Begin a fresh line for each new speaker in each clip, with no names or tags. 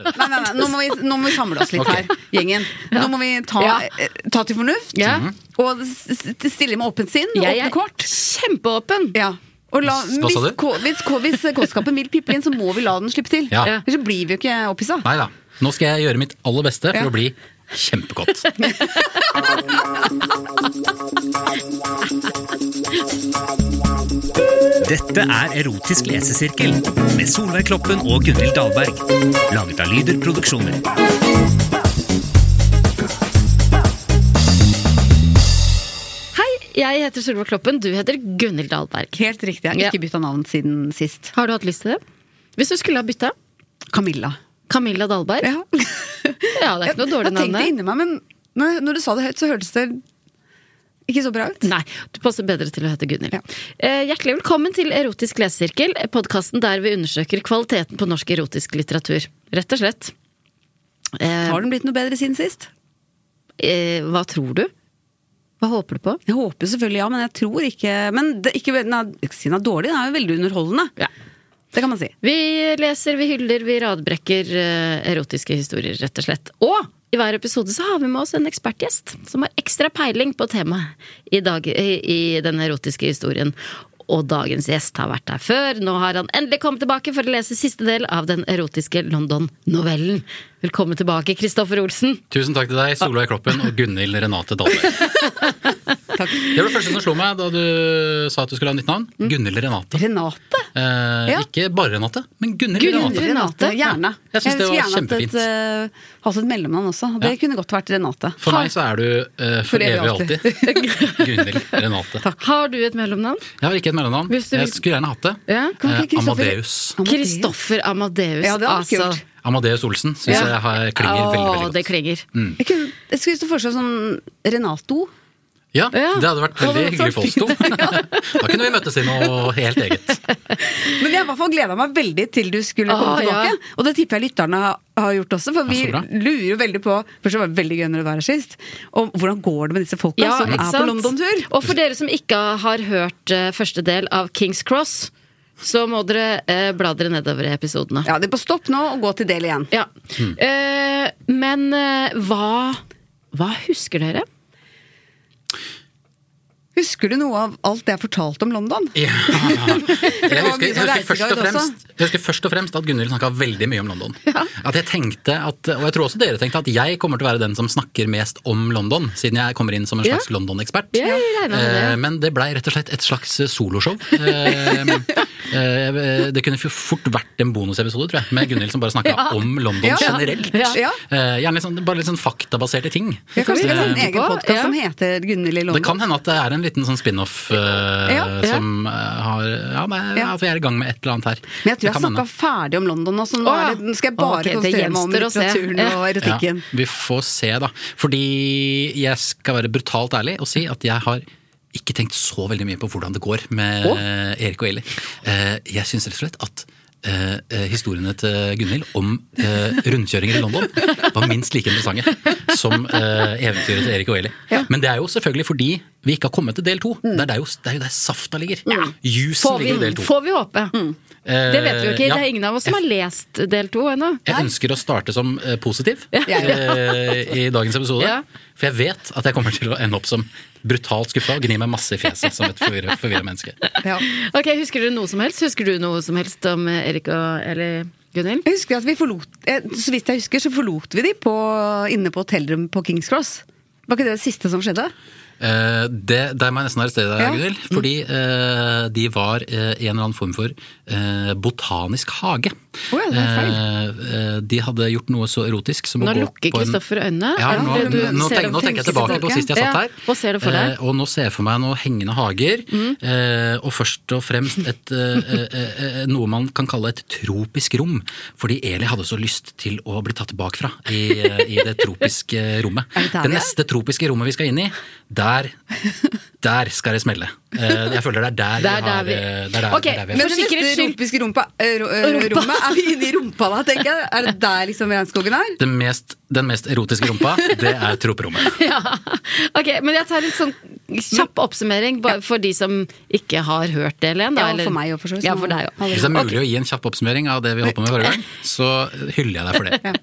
Nei, nei, nei, nå må vi, nå må vi samle oss litt her, gjengen. Nå må vi ta,
Ja.
eh, ta til fornuft,
Ja.
og s- s- stille med åpent sinn,
Jeg
åpne
er
kort.
kjempeåpen.
Ja. Og la,
Hva sa
hvis,
du?
ko- hvis, ko- hvis kåtskapen vil pippe inn, så må vi la den slippe til.
Ja.
Ellers så blir vi jo ikke opphissa.
Nei da. Nå skal jeg gjøre mitt aller beste for
Ja.
å bli kjempekåt.
Dette er Erotisk lesesirkel med Solveig Kloppen og Gunhild Dahlberg. Laget av Lyder Produksjoner.
Hei, jeg heter Sylva Kloppen, du heter Gunhild Dahlberg.
Helt riktig, jeg har ikke bytta navn siden sist.
Har du hatt lyst til det? Hvis du skulle ha bytta?
Camilla.
Camilla Dahlberg?
Ja.
Ja, det er ikke noe dårlig
jeg
navn.
tenkte
det.
inni meg, men når, når du sa det høyt, så hørtes det ikke så bra ut.
Nei, du passer bedre til å hete Gunhild.
Ja.
Eh, hjertelig velkommen til Erotisk lesesirkel, podkasten der vi undersøker kvaliteten på norsk erotisk litteratur. Rett og slett. Eh,
Har den blitt noe bedre siden sist?
eh, hva tror du? Hva håper du på?
Jeg håper selvfølgelig ja, men jeg tror ikke Men det, ikke, nei, ikke si den er dårlig, den er jo veldig underholdende.
Ja.
Det kan man si.
Vi leser, vi hyller, vi radbrekker eh, erotiske historier, rett og slett. Og i hver episode så har vi med oss en ekspertgjest som har ekstra peiling på temaet i, dag, i, i den erotiske historien. Og dagens gjest har vært her før. Nå har han endelig kommet tilbake for å lese siste del av den erotiske London-novellen. Velkommen tilbake, Kristoffer Olsen.
Tusen takk til deg, Solveig Kloppen og Gunhild Renate Dahlberg.
Takk.
Det var det første som slo meg da du sa at du skulle ha nytt navn. Gunhild Renate.
Renate.
Eh,
Ja.
Ikke bare Renate, men Gunhild
Gunhild
Renate.
Renate,
Gjerne.
Jeg synes det
skulle
var
gjerne hatt et, eh, hatt et mellomnavn også. Det
Ja.
kunne godt vært Renate.
For meg så er du eh, for, evig og alltid. Gunhild Renate.
Har du et mellomnavn?
Jeg har ikke et mellomnavn.
Hvis du vil-
Jeg skulle gjerne hatt det.
Ja,
kan ikke
Eh,
Kristoffer-
Amadeus.
Kristoffer Amadeus. altså.
Ja, det hadde vært kult.
Amadeus Olsen syns
Ja.
jeg har, klinger veldig,
Å, det
veldig godt.
klinger.
Jeg, kunne, jeg skulle lyst til å foreslå sånn Renato.
Ja,
Ja.
det hadde vært
Det hadde
veldig hyggelig
vært så
for oss to. Da kunne vi møttes i noe helt eget.
Men jeg i hvert fall gleda meg veldig til du skulle komme
Ah,
tilbake.
ja.
Og det tipper jeg lytterne har gjort også, for vi
så bra.
lurer jo veldig på Først så var det veldig gøy når du var her sist, og hvordan går det med disse folka som er
ikke
på
sant?
London-tur?
Og for dere som ikke har hørt eh, første del av Kings Cross, så må dere eh, bla dere nedover i episodene.
Ja, det er på stopp nå, og gå til del igjen.
Ja. Eh, men eh, hva, hva husker dere?
Husker du noe av alt det jeg fortalte om London?
Ja. Jeg,
var
husker,
mye
jeg,
sånn
husker først og
reiseguide også.
fremst, jeg husker først og fremst at Gunhild snakka veldig mye om London. At jeg tenkte at, Og jeg tror også dere tenkte at jeg kommer til å være den som snakker mest om London, siden jeg kommer inn som en slags London-ekspert.
Ja, jeg regner med det.
Eh, Men det blei rett og slett et slags soloshow. Eh, eh, Det kunne fort vært en bonusepisode, tror jeg, med Gunhild som bare snakka om London
Ja.
generelt.
Ja.
Ja.
Eh, Gjerne litt sånn, bare litt sånn faktabaserte ting.
Jeg kan
vi
skrive en
tenke
egen
på,
podkast
ja.
som heter Gunhild i
Det
London.
kan hende at det er en liten sånn spin-off eh,
Ja.
som eh, har Ja, nei,
Ja.
at vi er i gang med et eller annet her.
Men jeg tror
Det
jeg
kan
har snakka
hende.
ferdig om London nå, så nå
Å, ja.
er det, nå skal jeg bare
Ok, det
konsentrere meg om
gjenstår å se.
litteraturen og erotikken.
Ja, vi får se, da. Fordi jeg skal være brutalt ærlig og si at jeg har ikke tenkt så veldig mye på hvordan det går med eh, Erik og Eli. Eh, Jeg syns rett og slett at eh, eh, historiene til Gunhild om eh, rundkjøringer i London var minst like interessante som eh, eventyret til Erik og Eli. Men det er jo selvfølgelig fordi vi ikke har kommet til del to. Det, er der jo, det er jo der safta ligger. Jusen
Mm. Får vi,
ligger i del to.
får vi håpe. Det vet vi jo ikke.
Eh, ja.
Det er ingen av oss som har lest del to ennå.
Jeg ønsker å starte som eh, positiv eh, i dagens episode.
Ja.
For jeg vet at jeg kommer til å ende opp som brutalt skuffa og gni meg masse i fjeset som et forvirra forvirra menneske.
Ja.
Ok, Husker dere noe som helst? Husker du noe som helst om eh, Erik og eller Gunhild?
Jeg husker at vi forlot, eh, Så vidt jeg husker, så forlot vi de på, inne på hotellrom på Kings Cross. Var ikke det det siste som skjedde?
Eh, det, der må jeg nesten arrestere deg,
Ja. Mm.
Gunhild. Fordi eh, de var eh, i en eller annen form for eh, botanisk hage.
Å ja, det er feil.
Eh, eh, de hadde gjort noe så erotisk som å
Nå
gå
lukker
på en
Kristoffer øynene.
Ja,
Er det
nå,
det du
nå,
ser
tenk,
og
nå tenker jeg tilbake på sist jeg satt
Ja,
her.
Hva ser du for deg? Mm.
Eh, og nå ser jeg for meg noen hengende hager, eh, og først og fremst et, eh, eh, eh, noe man kan kalle et tropisk rom. Fordi Eli hadde så lyst til å bli tatt bakfra i, eh, i det tropiske rommet.
Er det der
Det
vi er?
neste tropiske rommet vi skal inn i, der, der skal det smelle. Eh, jeg føler det er der,
Det
vi
er
har
der vi-
eh, det er der,
Ok,
det er der vi
men-
er.
Men
For
det
sikkerhets
neste
skyld.
rumpiske rumpa, eh, ro- eh,
Rumpa.
rommet er vi inne i rumpa da, tenker jeg. Er det der liksom regnskogen er?
Den mest, den mest erotiske rumpa, det er troperommet.
Ja. Ok, men jeg tar en sånn kjapp oppsummering bare for de som ikke har hørt det, Len. da,
Ja,
eller-
for meg og for så vidt.
Ja, for deg også.
Hvis det er mulig å gi en kjapp oppsummering av det vi holdt på med forrige gang, så hyller jeg deg for det.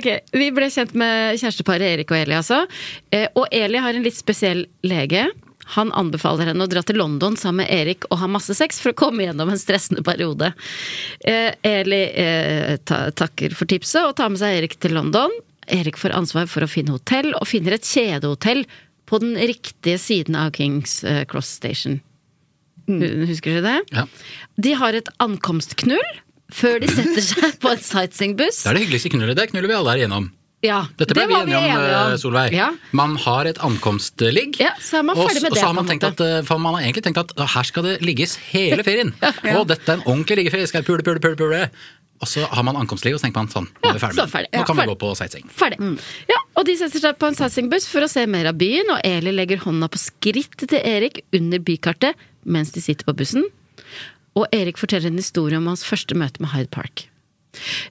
Ok, Vi ble kjent med kjæresteparet Erik og Eli, altså. Eh, Og Eli har en litt spesiell lege. Han anbefaler henne å dra til London sammen med Erik og ha masse sex for å komme gjennom en stressende periode. Eh, Eli eh, ta takker for tipset og tar med seg Erik til London. Erik får ansvar for å finne hotell, og finner et kjedehotell på den riktige siden av Kings eh, Cross Station. Hu- Husker dere det?
Ja.
De har et ankomstknull før de setter seg på en sightseeingbuss.
Det er det hyggeligste knullet. Det knuller vi alle her igjennom.
Ja,
Dette ble
det
vi
var
enige om, eh, Solveig.
Ja.
Man har et ankomstligg.
Ja, så er man
og,
ferdig med
og
det,
så har
på en
man, tenkt
måte.
at, eh, for man har egentlig tenkt at eh, her skal det ligges hele ferien. Og dette er en ordentlig liggeferie. Skal jeg pule, pule, pule, pule. Og så har man ankomstligg, og så tenker man sånn, nå
Ja,
er vi ferdig
så
med
ferdig.
det. Nå
Ja,
kan vi
ferdig.
gå på sightseeing.
Ferdig. Ja, og de setter seg på en sightseeingbuss for å se mer av byen, og Eli legger hånda på skrittet til Erik under bykartet mens de sitter på bussen. Og Erik forteller en historie om hans første møte med Hyde Park.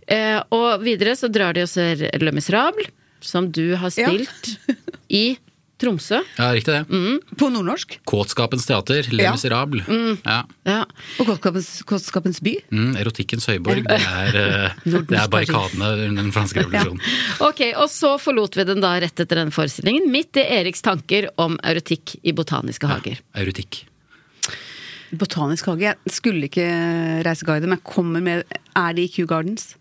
Eh, og videre så drar de og ser Le Miserable, som du har
Ja.
spilt i Tromsø.
Ja, riktig det.
Mm.
På nordnorsk?
Kåtskapens teater, Le
Ja.
Miserable.
Mm.
Ja.
Ja.
Og Kåtskapens, Kåtskapens by?
Mm, erotikkens høyborg. Det er, eh, det er barrikadene under den franske revolusjonen.
Ok, og så forlot vi den da rett etter den forestillingen, midt i Eriks tanker om erotikk i botaniske hager.
Erotikk.
Botanisk hage. Jeg skulle ikke reiseguide, men jeg kommer med Er det i Kew Gardens?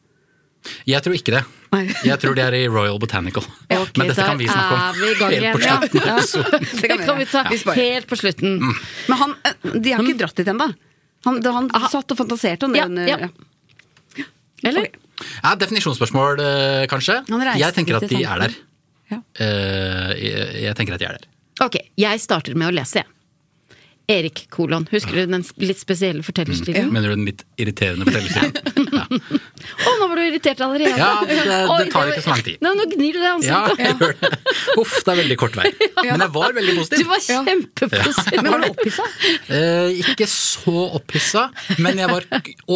Jeg tror ikke det.
Nei.
Jeg tror det er i Royal Botanical.
Ok,
Men dette kan
der
vi snakke om
er vi i gang
helt på
igjen, ja.
slutten Mm. av
Ja.
episoden.
Det kan, vi ta
Vi sparer.
helt på slutten.
Men han, eh, de har ikke dratt dit ennå. Han, da han
Aha.
satt og fantaserte om det.
Ja,
under-
ja. Eller?
Ok.
Ja, definisjonsspørsmål, eh, kanskje.
Han reiste
Jeg tenker at
dit
de
i
er der.
Ja.
Eh, jeg, jeg tenker at de er der.
Ok, jeg starter med å lese. jeg. Erik kolon. Husker du den litt spesielle fortellerstilen?
Mener du den litt irriterende fortellerstilen? Mm. Ja.
Å, nå var du irritert allerede!
Ja, det- det
Oi,
tar
var-
ikke så lang tid.
Nei, nå gnir du deg i
ja,
ansiktet.
jeg gjør det. Uff, det er veldig kort vei. Men jeg var veldig
Du
positiv.
var kjempepositiv.
Men var du opphissa?
Eh, ikke så opphissa, men jeg var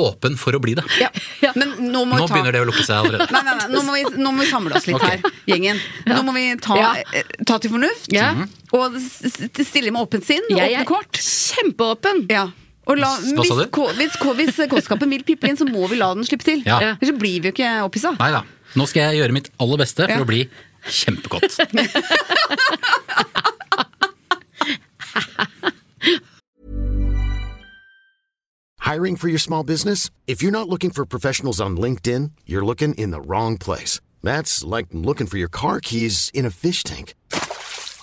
åpen for å bli det.
Ja. Men nå må vi
Nå
ta
begynner det å lukke seg allerede.
Nei, nei, nei, nå må vi, nå må vi samle oss litt
Ok.
her, gjengen. Nå må vi ta,
Ja.
eh, ta til fornuft,
Ja.
og s- s- stille med åpent sinn og
Jeg
åpne
er
kort.
kjempeåpen!
Ja. Og la,
Hva
hvis,
sa du?
kå- hvis, kå- hvis kåtskapen vil pipe inn, så må vi la den slippe til.
Ja.
Ellers så blir vi jo ikke opphissa.
Nei da. Nå skal jeg gjøre mitt aller beste for
Ja.
å bli kjempekåt.
Hiring for your small business? If you're not looking for professionals on LinkedIn, you're looking in the wrong place. That's like looking for your car keys in a fish tank.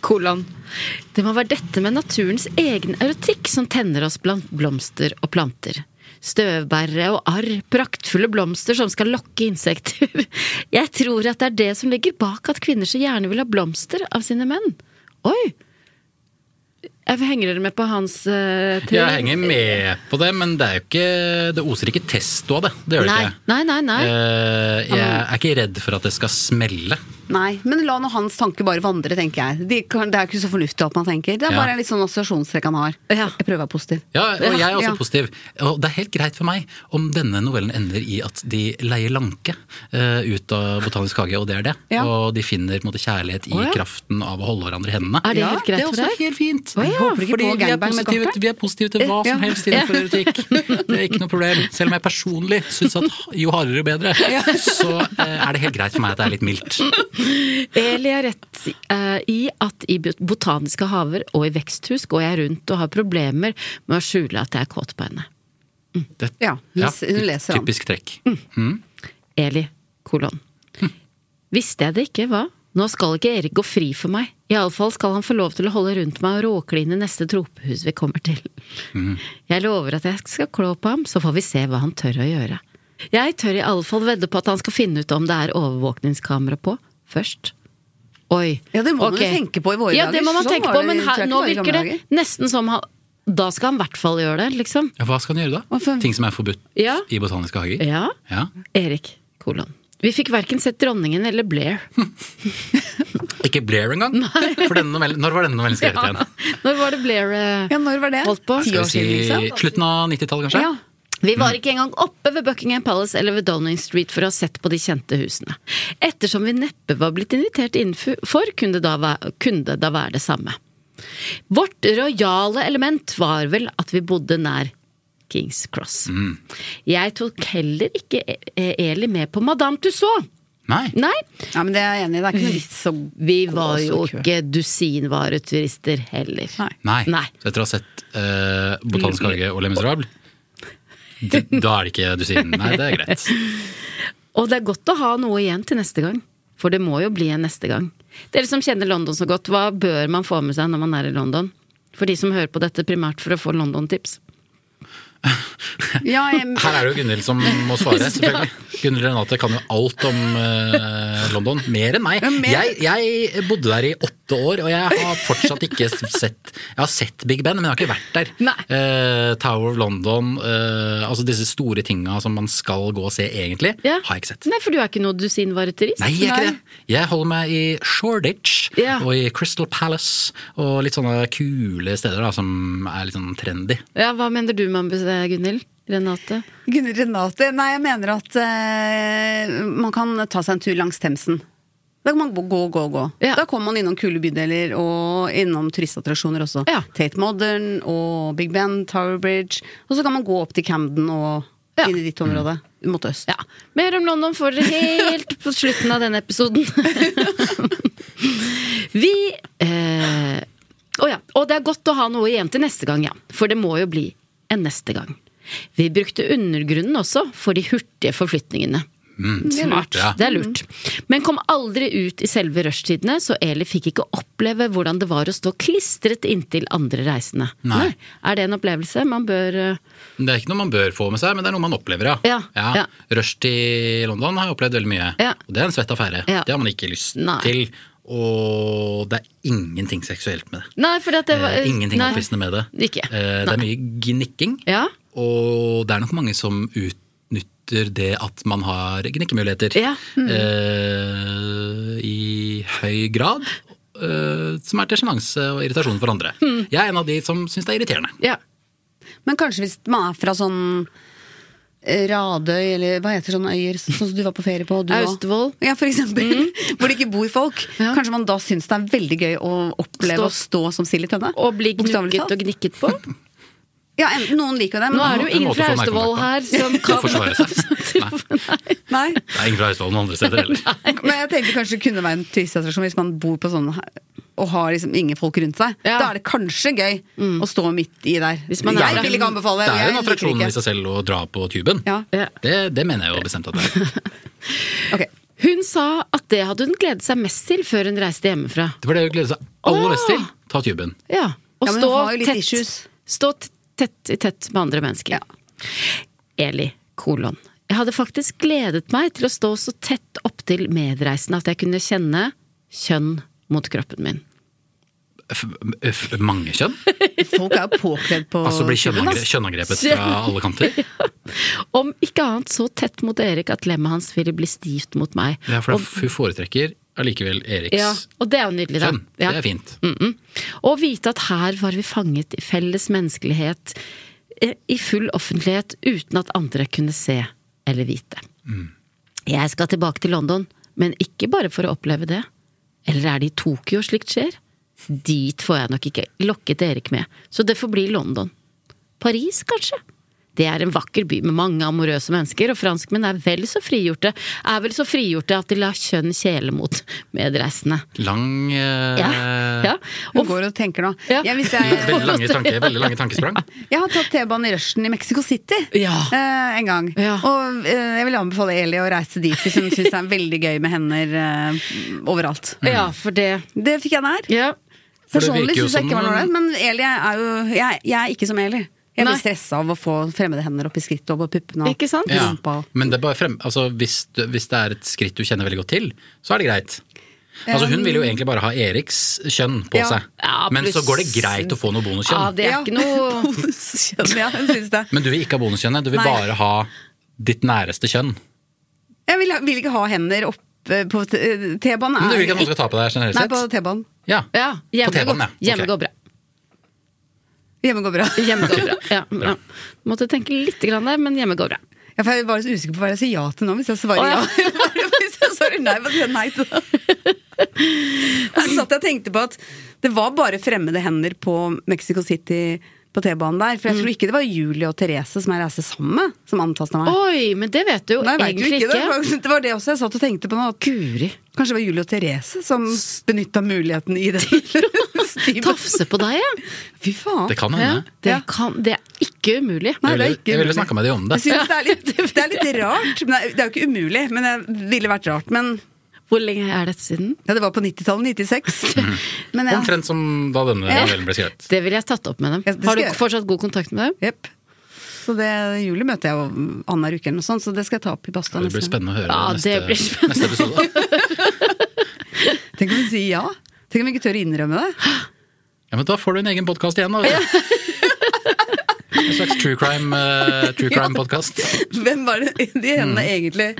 Kolon. Det må være dette med naturens egen erotikk som tenner oss blant blomster og planter. Støvbærere og arr, praktfulle blomster som skal lokke insekter. Jeg tror at det er det som ligger bak at kvinner så gjerne vil ha blomster av sine menn. Oi! Jeg henger dere med på hans uh, teori?
Jeg henger med på det, men det, er jo ikke, det oser ikke testo av det. Det gjør det
nei,
ikke.
Nei, nei, nei.
Eh, jeg er ikke redd for at det skal smelle.
Nei, men la nå hans tanke bare vandre, tenker jeg. De kan, det er ikke så fornuftig at man tenker. Det er
Ja.
bare en litt sånn assosiasjonstrekk han har. Jeg prøver å være positiv.
Ja, og jeg er også
Ja.
positiv. Og det er helt greit for meg om denne novellen ender i at de leier Lanke eh, ut av Botanisk hage, og det er det.
Ja.
Og de finner på en måte kjærlighet i
Å, ja.
kraften av å holde hverandre i hendene.
Er det helt greit
det er
for
også
deg?
helt fint.
Å, ja.
Fordi vi er, positive, vi er positive til hva
Ja.
som helst innenfor
Ja.
erotikk. Det er ikke noe problem. Selv om jeg personlig syns at jo hardere, jo bedre, så eh, er det helt greit for meg at det er litt mildt.
Eli har rett eh, i at i bot- botaniske haver og i veksthus går jeg rundt og har problemer med å skjule at jeg er kåt på henne.
Det,
ja, hun, s- hun leser han.
Typisk trekk. Mm.
Eli, kolon. Visste jeg det ikke, hva? Nå skal ikke Erik gå fri for meg. Iallfall skal han få lov til å holde rundt meg og råkline neste tropehus vi kommer til. Jeg lover at jeg skal klå på ham, så får vi se hva han tør å gjøre. Jeg tør i alle fall vedde på at han skal finne ut om det er overvåkningskamera på først. Oi.
Ja, det må
Ok.
man jo tenke på i våre
ja,
dager.
det må man
Sånn
tenke
var
på,
det-
men
tror
her,
jeg ikke
nå
var i
virker
gamle
det
dager.
nesten som han Da skal han i hvert fall gjøre det, liksom.
Ja, Hva skal han gjøre da? Ting som er forbudt
Ja.
i botaniske hager?
Ja.
Ja.
Erik, kolon. Vi fikk verken sett dronningen eller Blair.
Ikke Blair engang? For denne novellen, når var denne novellen skrevet
Ja.
igjen?
Når var det Blair eh, holdt på?
Skal vi si slutten av 90-tallet, kanskje?
Ja. Vi var ikke engang oppe ved Buckingham Palace eller ved Downing Street for å ha sett på de kjente husene. Ettersom vi neppe var blitt invitert innenfor, kunne det da, væ- kunne det da være det samme. Vårt rojale element var vel at vi bodde nær Kings Cross.
Mm.
Jeg tok heller ikke E- E- Eli med på Madame Tussauds.
Nei.
Ja, men det er jeg enig i. Det er ikke noe vits å
Vi var
gå så
jo
i kø.
ikke dusinvareturister heller.
Nei. Så etter å ha sett eh, Botanisk hage og Les Miserables, d- da er det ikke dusin. Nei, det er greit.
Og det er godt å ha noe igjen til neste gang. For det må jo bli en neste gang. Dere som kjenner London så godt, hva bør man få med seg når man er i London? For de som hører på dette primært for å få London-tips.
Her er det jo Gunhild som må svare, selvfølgelig. Gunhild Renate kan jo alt om eh, London. Mer enn meg. Jeg, jeg bodde der i åtte år, og jeg har fortsatt ikke sett Jeg har sett Big Ben, men jeg har ikke vært der. Eh, Tower of London, eh, altså disse store tinga som man skal gå og se egentlig, har jeg ikke sett.
Nei, for du er ikke noe dusinvareturist.
Nei, jeg er ikke det. Jeg holder meg i Shoreditch
Ja.
og i Crystal Palace og litt sånne kule steder da, som er litt sånn trendy.
Ja, hva mener du med ambisjon, Gunhild? Renate?
Gunnar Renate, nei, jeg mener at eh, man kan ta seg en tur langs Themsen. Da kan man gå, gå, gå. gå. Da kommer man innom kule bydeler og innom turistattraksjoner også. Tate Modern og Big Ben, Tower Bridge. Og så kan man gå opp til Camden og inn i ditt område. Mot øst.
Mer om London får dere helt på slutten av denne episoden. Vi eh, å ja. Og det er godt å ha noe igjen til neste gang, ja. For det må jo bli en neste gang. Vi brukte undergrunnen også for de hurtige forflytningene.
Mm.
Det er lurt. Det er lurt. Men kom aldri ut i selve rushtidene, så Eli fikk ikke oppleve hvordan det var å stå klistret inntil andre reisende.
Nei.
Er det en opplevelse man bør eh,
Det er ikke noe man bør få med seg, men det er noe man opplever, ja.
Ja, ja.
Rush til London har jeg opplevd veldig mye.
Ja.
Og det er en svett affære.
Ja.
Det har man ikke lyst
Nei.
til. Og det er ingenting seksuelt med det.
Nei, for at det var
Eh, Ingenting
nei.
opphissende med det.
Ikke.
Eh, Det er mye gnikking, og det er nok mange som utnytter det at man har gnikkemuligheter
Mm.
eh, i høy grad. eh, som er til sjenanse og irritasjon for andre.
Mm.
Jeg er en av de som syns det er irriterende.
Men kanskje hvis man er fra sånn eh, Radøy, eller hva heter sånne øyer sånn som du var på ferie på? og Du også.
Austevoll. Mhm.
Ja, for eksempel. Hvor det ikke bor folk. Kanskje man da syns det er veldig gøy å oppleve
Stå-
å stå som sild i tønne?
Og bli
Bokstavelig
gnukket
talt.
og gnikket på?
Ja, en- noen liker jo det. men-
Nå er det jo ingen fra Austevoll her som kan
forsvare
Nei.
Det er ingen fra Østfold noen andre steder heller.
Men jeg tenkte kanskje det kunne være en turistattraksjon hvis man bor på sånne og har liksom ingen folk rundt seg, da er det kanskje gøy
Mm.
å stå midt i der.
man er
jeg
fra-
vil ikke anbefale
Det er jo en
jeg liker
attraksjon
ikke.
i seg selv å dra på tuben. Det, det mener jeg jo bestemt at det er.
Hun sa at det hadde hun gledet seg mest til før hun reiste hjemmefra.
Det var det jeg gledet seg aller mest til. Ta tuben.
Ja, Og
Ja, men hun
stå,
har jo litt
tett, stå t- tett i tett med andre mennesker. Eli kolon. Jeg hadde faktisk gledet meg til å stå så tett opptil medreisende at jeg kunne kjenne kjønn mot kroppen min.
F f mange kjønn?
Folk er jo påkledd på
Altså blir
tuben,
kjønnangre
ass.
kjønnangrepet fra alle kanter?
Om ikke annet så tett mot Erik at lemmet hans ville bli stivt mot meg.
Ja, for da
Og-
f- hun foretrekker allikevel Eriks
Ja, og det er jo nydelig, da.
kjønn.
Ja.
Det er fint.
Mm.
Mm-mm. Og vite at her var vi fanget i felles menneskelighet eh, i full offentlighet uten at andre kunne se eller vite.
Mm.
Jeg skal tilbake til London, men ikke bare for å oppleve det. Eller er det i Tokyo slikt skjer? Dit får jeg nok ikke lokket Erik med, så det får bli London. Paris, kanskje? Det er en vakker by med mange amorøse mennesker, og franskmenn er vel så frigjorte, er vel så frigjorte at de lar kjønn kjele mot medreisende.
Lang eh,
Ja, ja.
Hun går og tenker nå. Jeg, hvis jeg,
Veldig lange, tanke, veldig lange tankesprang.
jeg har tatt T-banen i rushen i Mexico City eh, en gang. Og eh, jeg vil anbefale Eli å reise dit hvis hun syns det er veldig gøy med hender eh, overalt.
Ja, for det
Det fikk jeg nær.
For det
Personlig
virker jo
syns jeg ikke
som-
var noe ålreit, men Eli er jo jeg, jeg er ikke som Eli. Jeg
Nei.
blir stressa av å få fremmede hender opp i skrittet og på puppene. og
Ikke sant?
Ja.
rumpa og-
Men det er bare frem, altså, hvis, du- hvis det er et skritt du kjenner veldig godt til, så er det greit. Altså, hun vil jo egentlig bare ha Eriks kjønn
Um,
på
Ja.
seg,
Ja,
men så
pluss-
går det greit å få noe bonuskjønn.
Ja, det er ikke noe- Ja, hun syns det.
Men du vil ikke ha bonuskjønnet, du vil
Nei.
bare ha ditt næreste kjønn.
Jeg vil, vil ikke ha hender oppe på t- eh, T-banen.
Men
er-
du vil ikke at noen skal ta på deg generelt
Nei,
sett?
på T-banen.
Ja,
hjemme
på T-banen,
går-
ja.
Hjemme
Ok.
går bra.
Hjemme går bra.
Hjemme går bra. Ja, bra. Måtte tenke litt, grann der, men hjemme går bra.
Ja, for jeg var så usikker på hva jeg sier ja til nå, hvis jeg svarer
Å, ja.
ja. hvis jeg svarer nei, hva sier jeg nei til da? Og så satt jeg og tenkte på at det var bare fremmede hender på Mexico City på T-banen der. For jeg
Mm.
tror ikke det var Julie og Therese som jeg reiste sammen med, som antasta meg.
Oi, men det vet du jo
Nei, jeg vet jo
egentlig
ikke. Det
ikke.
var- Det var det også jeg satt og tenkte på nå. at Kanskje det var Julie og Therese som benytta muligheten i det.
Tafse på deg, ja.
Fy faen.
Det kan hende.
Ja, det, kan, det er ikke umulig.
Jeg ville- jeg ville snakka med deg om det.
Jeg synes det, er litt, det er litt rart. Men det, er, det er jo ikke umulig, men det ville vært rart. Men
Hvor lenge er dette siden?
Ja, Det var på 90-tallet. 96. Men ja.
Omtrent som da denne
Ja.
novellen ble skrevet.
Det ville jeg tatt opp med dem.
Ja, det
Har du
skal jeg.
fortsatt god kontakt med dem?
Jepp. Så det juli møter jeg jo annenhver uke, eller noe sånt, sånn, så det skal jeg ta opp i badstua.
Det blir
neste gang.
spennende å høre
Ja,
neste,
det blir spennende.
neste episode.
Tenk om hun sier ja? Tenk om vi ikke tør å innrømme det?
Ja, men Da får du en egen podkast igjen, da. vet du. En slags true crime, eh, true crime podcast.
Hvem var det de hendene
Mm.
egentlig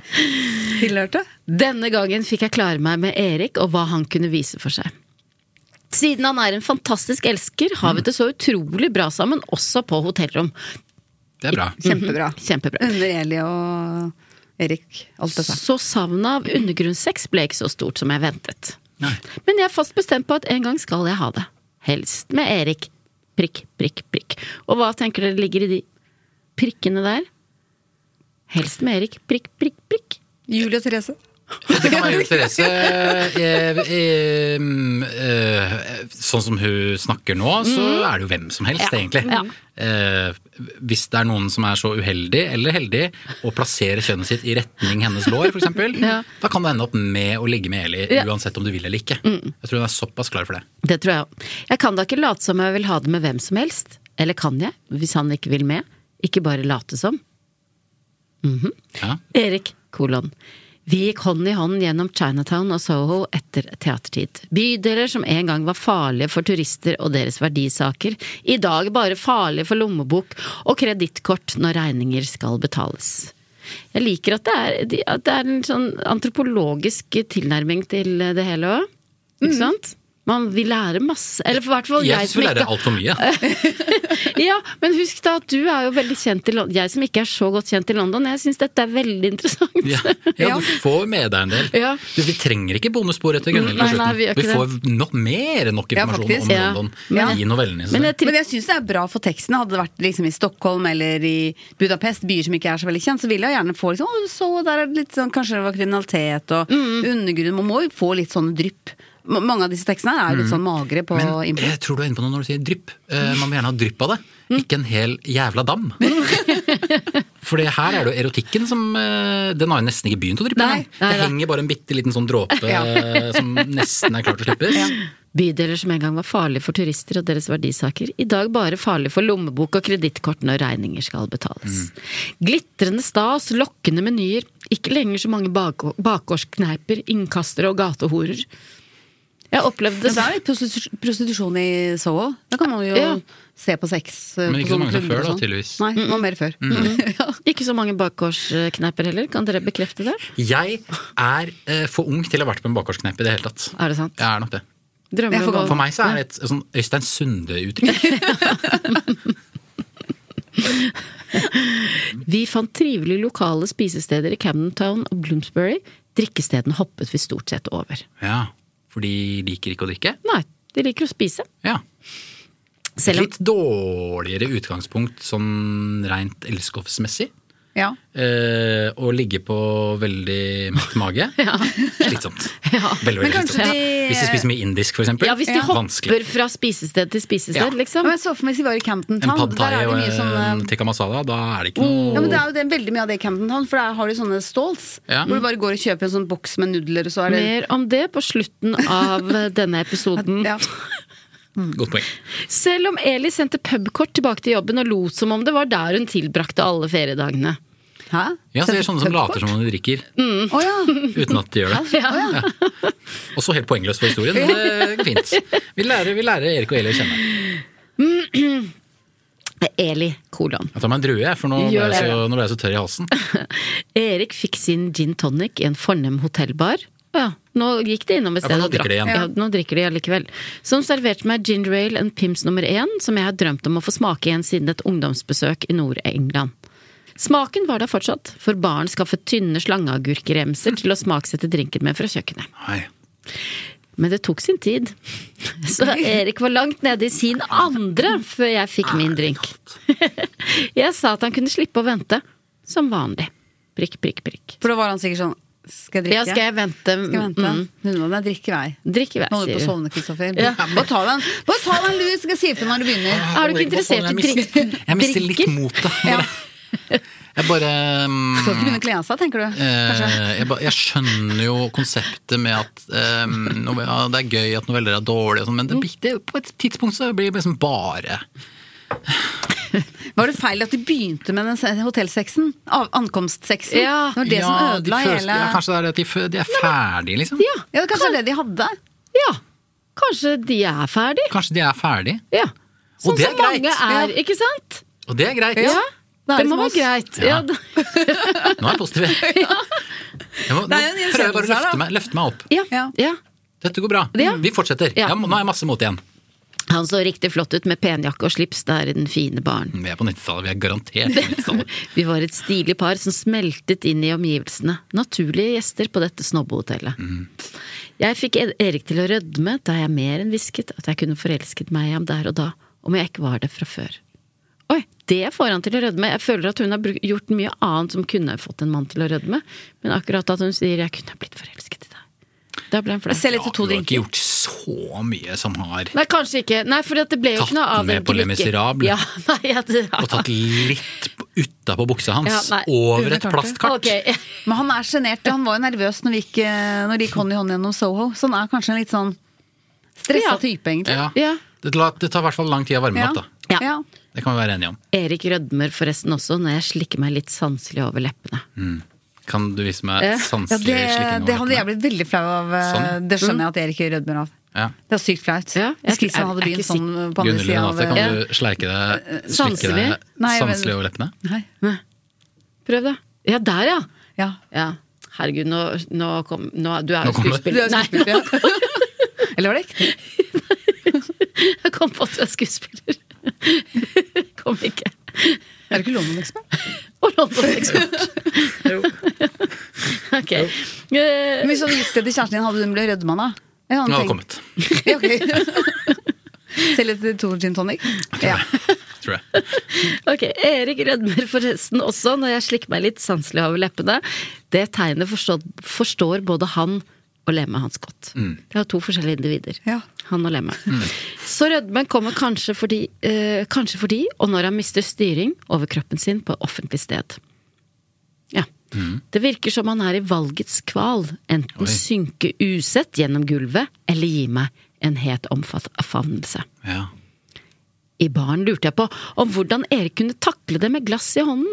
tilhørte?
Mm-hmm.
Denne gangen fikk jeg klare meg med Erik og hva han kunne vise for seg. Siden han er en fantastisk elsker, har vi det så utrolig bra sammen, også på hotellrom.
Det er bra.
Kjempebra.
Kjempebra.
Under Eli og Erik. Alt dette.
Så savnet av undergrunnssex ble ikke så stort som jeg ventet.
Mm.
Men jeg er fast bestemt på at en gang skal jeg ha det. Helst med Erik. Prikk, prikk, prikk. Og hva tenker dere ligger i de prikkene der? Helst med Erik. Prikk, prikk, prikk.
Julie og Therese.
Det kan være Julie Therese eh, eh, mm, eh, Sånn som hun snakker nå, så
Mm.
er det jo hvem som helst,
Ja.
egentlig.
Ja.
Eh, hvis det er noen som er så uheldig eller heldig å plassere kjønnet sitt i retning hennes lår, f.eks.,
Ja.
da kan du ende opp med å ligge med Eli
Ja.
uansett om du vil eller ikke.
Mm.
Jeg tror hun er såpass klar for det.
Det tror jeg òg. Jeg kan da ikke late som jeg vil ha det med hvem som helst. Eller kan jeg, hvis han ikke vil med? Ikke bare late som. Mhm. Erik kolon. Vi gikk hånd i hånd gjennom Chinatown og Soho etter teatertid. Bydeler som en gang var farlige for turister og deres verdisaker, i dag bare farlige for lommebok og kredittkort når regninger skal betales. Jeg liker at det er, de- at det er en sånn antropologisk tilnærming til det hele òg. Ikke sant? Man vil lære masse. Eller for hvert fall Mhm. jeg,
Jeg syns
som
vi
ikke-
lærer altfor mye.
ja, men husk da at du er jo veldig kjent i London. Jeg som ikke er så godt kjent i London, jeg syns dette er veldig interessant.
Ja, ja, du får med deg en del.
Ja. Mm,
Du, vi trenger ikke bonusspor etter Gunnhild
Nei,
på
nei,
slutten.
vi gjør
vi
ikke
får nok mer enn nok
Ja,
informasjon
faktisk.
om
Ja.
London
Ja.
i novellene. synes
Men
jeg.
jeg, men jeg syns det er bra for teksten. Hadde det vært liksom i Stockholm eller i Budapest, byer som ikke er så veldig kjent, så ville jeg gjerne få liksom, Å, du så der er det litt sånn, Kanskje det var kriminalitet og undergrunn. Man må jo få litt sånne drypp. M- Mange av disse tekstene er jo litt sånn magre på
Mm. Men eh,
impro.
jeg tror du er inne på noe når du sier drypp. Eh, Man må gjerne ha drypp av det,
Mm.
ikke en hel jævla dam. For her er det jo erotikken som eh, Den har jo nesten ikke begynt å dryppe.
Nei,
engang.
nei
det
da.
henger bare en bitte liten sånn dråpe
Ja.
eh, som nesten er klar til å slippes.
Bydeler som en gang var farlige for turister og deres verdisaker, i dag bare farlige for lommebok og kredittkort når regninger skal betales.
Mm.
Glitrende stas, lokkende menyer, ikke lenger så mange bak bakgårdskneiper, innkastere og gatehorer. Jeg opplevde
Men det er litt prostitu- prostitusjon i Soho. Da kan man jo
Ja.
se på sex. eh,
Men
på
ikke så
sånne
mange som
klubber
før,
og
da,
sånn.
tydeligvis.
Nei, det var mer før.
Ikke så mange bakgårdskneiper heller, kan dere bekrefte det?
Jeg er eh, for ung til å ha vært på en bakgårdskneip i det hele tatt.
Er det sant?
Jeg er nok det.
Drømmer om å-
For meg så er det et sånn Øystein Sunde-uttrykk.
Vi fant trivelige lokale spisesteder i Camden Town og Bloomsbury. Drikkestedene hoppet vi stort sett over.
Ja, for de liker ikke å drikke.
Nei, de liker å spise.
Ja.
Selv om-
Litt dårligere utgangspunkt sånn rent elskovsmessig.
Ja.
Eh, å ligge på veldig mett mage. Slitsomt. Veldig,
Men
veldig
kanskje
slitsomt.
de-
Hvis du spiser mye indisk, for eksempel.
Ja, hvis de hopper
Vanskelig.
fra spisested til spisested,
Ja.
liksom.
Men jeg så for meg hvis vi var i Campton
En
Town.
pad thai
der er
og
det mye sånn
eh,
en tikka masala, da er det ikke noe
Ja, men Det er jo det, veldig mye av det i Camden Town, for der har de sånne stalls.
Ja.
Hvor du bare går og kjøper en sånn boks med nudler, og så er det
Mer om det på slutten av eh, denne episoden. Mm.
Godt poeng.
Selv om Eli sendte pubkort tilbake til jobben og lot som om det var der hun tilbrakte alle feriedagene.
Hæ?
Ja, så det er sånne som later som om de drikker,
Mm.
uten at de gjør det.
Ja.
Også helt poengløst for historien, men det går fint. Vi lærer, vi lærer Erik og Eli å kjenne.
Eli, kolon.
Jeg tar meg en drue, jeg, for nå ble
Gjør
jeg
det.
så, nå ble jeg så tørr i halsen.
Erik fikk sin gin tonic i en fornem hotellbar. Ja, nå gikk de innom et
Ja,
sted
for nå
og drakk.
drikker de igjen.
Ja, nå drikker de allikevel. Som serverte meg ginger ale and pims nummer én, som jeg har drømt om å få smake igjen siden et ungdomsbesøk i Nord-England. Smaken var der fortsatt, for baren skaffet tynne slangeagurkremser til å smaksette drinken med fra kjøkkenet.
Nei.
Men det tok sin tid, så Erik var langt nede i sin andre før jeg fikk min drink. Jeg sa at han kunne slippe å vente, som vanlig. Prikk, prikk, prikk.
For da var han sikkert sånn Skal jeg drikke?
Ja, skal jeg vente?
Skal jeg vente?
Mm.
Hun må da drikke i vei.
Drikk i vei,
Nå holder du på å
sier hun.
sovne, Kristoffer.
Ja.
Bare ta deg en Bare ta deg en lur, så skal jeg si ifra når du begynner.
Er du ikke interessert i drikk?
Jeg mister litt motet.
Ja.
Jeg bare um,
Skal ikke begynne å kle av seg, tenker du. Kanskje.
Eh, jeg, ba- jeg skjønner jo konseptet med at eh, nove- ja, det er gøy at noveller er dårlige, og sånn, men det, blir- det, på et tidspunkt så blir det liksom bare
Var det feil at de begynte med den se- hotellsexen? Av ankomstsexen?
Ja.
Det var det som
Ja, de
ødela
føles-
hele
ja, Kanskje det er det at de, fø- de er ferdige, liksom?
Ja,
Ja, det kanskje det de hadde.
ja. Kanskje de er ferdig?
Kanskje de er ferdige?
Ja. Sånn
det er
som mange
greit.
er, ikke sant?
Og det er greit!
Ja.
Da er
Det
det
må
som
være
oss.
greit.
Ja.
Ja, da-
Nå er jeg positiv. Jeg må, nå
Det er jo en
prøver jeg bare
gjenkjennelse
å
her, da.
løfte meg, løfte meg opp.
ja. ja.
Dette går bra.
Ja.
Vi fortsetter.
Ja.
Ja, nå er jeg masse mot igjen.
Han så riktig flott ut med penjakke og slips der i den fine baren.
Vi er på 90-tallet. Vi er garantert på 90-tallet.
Vi var et stilig par som smeltet inn i omgivelsene. Naturlige gjester på dette snobbehotellet.
Mm.
Jeg fikk E- Erik til å rødme da jeg mer enn hvisket at jeg kunne forelsket meg i ham der og da, om jeg ikke var det fra før. Oi, det får han til å rødme. Jeg føler at hun har bruk- gjort mye annet som kunne fått en mann til å rødme, men akkurat at hun sier 'jeg kunne ha blitt forelsket i deg', da ble han flau.
Selv etter
Du
to
har ikke
drinker.
gjort så mye som har
Nei, kanskje ikke. Nei, for at det ble jo
Tatt
ikke noe av
med
den
på Les
glikke-
Miserables.
Ja, nei, ja, det,
Og tatt litt utapå buksa hans.
Ja, nei.
over et
Underkartet.
plastkart.
Ok.
Men han er sjenert. Han var jo nervøs når, vi gikk, eh, når de gikk hånd i hånd gjennom Soho. Så han er kanskje en litt sånn stressa
Ja.
type, egentlig.
Ja.
Ja.
Det, la- det tar i hvert fall lang tid å varme den opp, da.
Ja.
Ja.
Ja.
Det kan vi være enige om.
Erik rødmer forresten også når jeg slikker meg litt sanselig over leppene.
Kan du vise meg
Ja.
sanselig
det,
slikking?
det
over
hadde jeg
leppene?
blitt veldig flau av. eh,
Sånn.
Det skjønner jeg at Erik rødmer av.
Ja.
Det er sykt flaut.
Mm. Ja, jeg
Hvis Kristian
er-
hadde
er
begynt
ikke
sånn eh, på andre
Gunhild
sida av eh,
Renate, kan du sleike deg, slikke
eh, sanselig?
deg
Nei, jeg
sanselig
vet-
over leppene?
Nei.
Prøv, da. Ja, der, ja!
Ja.
ja. Herregud, nå, nå kom nå, Du er
Nå
jo
kom det.
Du er
skuespiller. Nei,
skuespiller. ja. Eller var det ekte?
jeg kom på at du er skuespiller. Kom ikke.
Er det ikke London-ekspert?
Og London-ekspert. Ok. Eh,
Men Hvis du hadde gjort det til kjæresten din, hadde hun blitt rødma da? Ja, han
Nå har det
tenkt-
kommet,
Ja, ok. Selv etter to gin tonic? Ja.
tror jeg.
Ok, Erik rødmer forresten også når jeg slikker meg litt sanselig over leppene. Det tegnet forstår, forstår både han og lemet hans godt.
Mm.
Det er jo to forskjellige individer. Han og lemet. Så rødmen kommer kanskje fordi, eh, kanskje fordi, og når han mister styring over kroppen sin på offentlig sted. Ja. Det virker som han er i valgets kval. Enten
Mm. Oi.
synke usett gjennom gulvet, eller gi meg en het omfavnelse.
Ja.
I baren lurte jeg på om hvordan Erik kunne takle det med glass i hånden.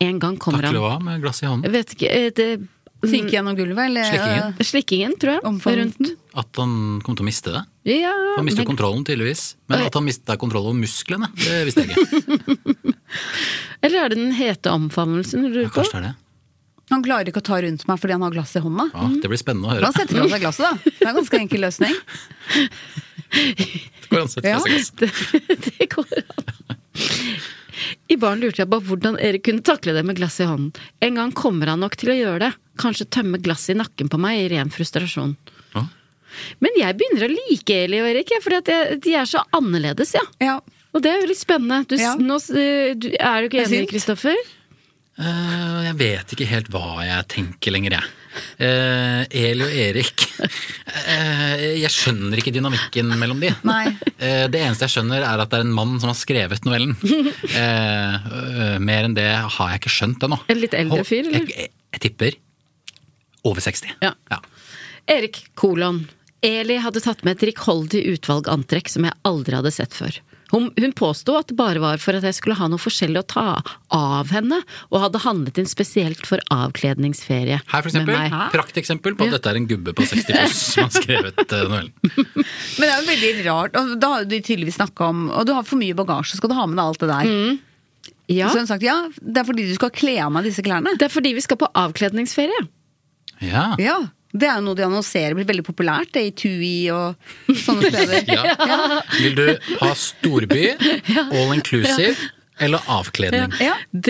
En gang kommer
Takle hva
han
med glass i hånden?
Jeg vet ikke eh, det,
Synke gjennom gulvet, eller?
Slikkingen?
eh,
Slikkingen, tror jeg. Rundt.
At han kom til å miste det?
Ja,
Han mistet
men-
kontrollen, tydeligvis. Men
Oi.
at han mista kontroll over musklene, det visste jeg ikke.
Eller er det den hete omfavnelsen du lurer på?
Kanskje det er det.
Han klarer ikke å ta rundt meg fordi han har glass i hånda.
Ja, det blir spennende å høre.
Da setter han seg glasset, da. Det er en ganske enkel løsning.
Går han og setter
Ja.
seg glass?
det går an. I baren lurte jeg på hvordan Erik kunne takle det med glass i hånden. En gang kommer han nok til å gjøre det. Kanskje tømme glasset i nakken på meg i ren frustrasjon.
Ja.
Men jeg begynner å like Eli og Erik, for de er så annerledes, ja. Og det er jo litt spennende. Du, s-
Ja.
nå, s- eh, du, er du ikke
Det er
enig,
synd.
Kristoffer?
Eh, jeg vet ikke helt hva jeg tenker lenger, jeg. Eh, Eli og Erik eh, Jeg skjønner ikke dynamikken mellom de. Eh, det eneste jeg skjønner, er at det er en mann som har skrevet novellen. Eh, eh, mer enn det har jeg ikke skjønt ennå.
En litt eldre
Hold-
fyr, eller?
Jeg, jeg, jeg tipper over 60.
Ja. Erik kolon. Eli hadde tatt med et rikholdig utvalg antrekk som jeg aldri hadde sett før. Hun, hun påsto at det bare var for at jeg skulle ha noe forskjellig å ta av henne, og hadde handlet inn spesielt for avkledningsferie
Her for eksempel, prakteksempel på at dette er en gubbe på 60 pluss som har skrevet eh, novellen.
Men det er jo veldig rart. Og da har jo de tydeligvis snakka om Og du har for mye bagasje, skal du ha med deg alt det der?
Ja.
Så hun sagt ja, det er fordi du skal kle av meg disse klærne.
Det er fordi vi skal på avkledningsferie.
Ja.
ja. Det er jo noe de annonserer blir veldig populært, det i Tui og sånne steder.
Ja. Vil du ha storby, all inclusive eller avkledning?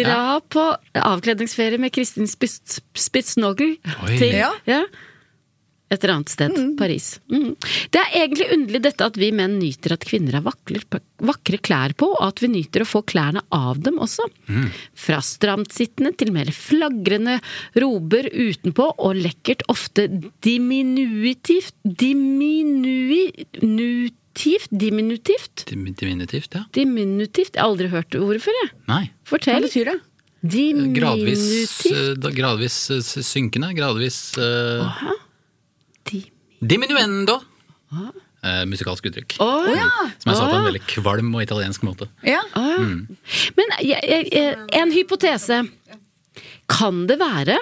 Dra på avkledningsferie med Kristin Spitz- Spitznogel
Oi.
til
Ja.
ja, et eller annet sted. Paris. Mm. Det er egentlig underlig dette at vi menn nyter at kvinner har vakler, vakre klær på, og at vi nyter å få klærne av dem også.
Mm.
Fra stramtsittende til mer flagrende rober utenpå, og lekkert, ofte diminutivt Diminutivt? Diminutivt?
Dim- Diminutivt, ja.
Diminutivt? Jeg har aldri hørt ordet før, jeg.
Nei.
Fortell.
Hva betyr det?
Diminutivt.
Gradvis, eh, da- gradvis eh, s- synkende, gradvis eh, Diminuendo! Eh, musikalsk uttrykk.
Å, ja.
Som jeg sa på en
Å.
veldig kvalm og italiensk måte.
Ja.
Mm.
Ah. Men jeg, jeg, jeg, en hypotese. Kan det være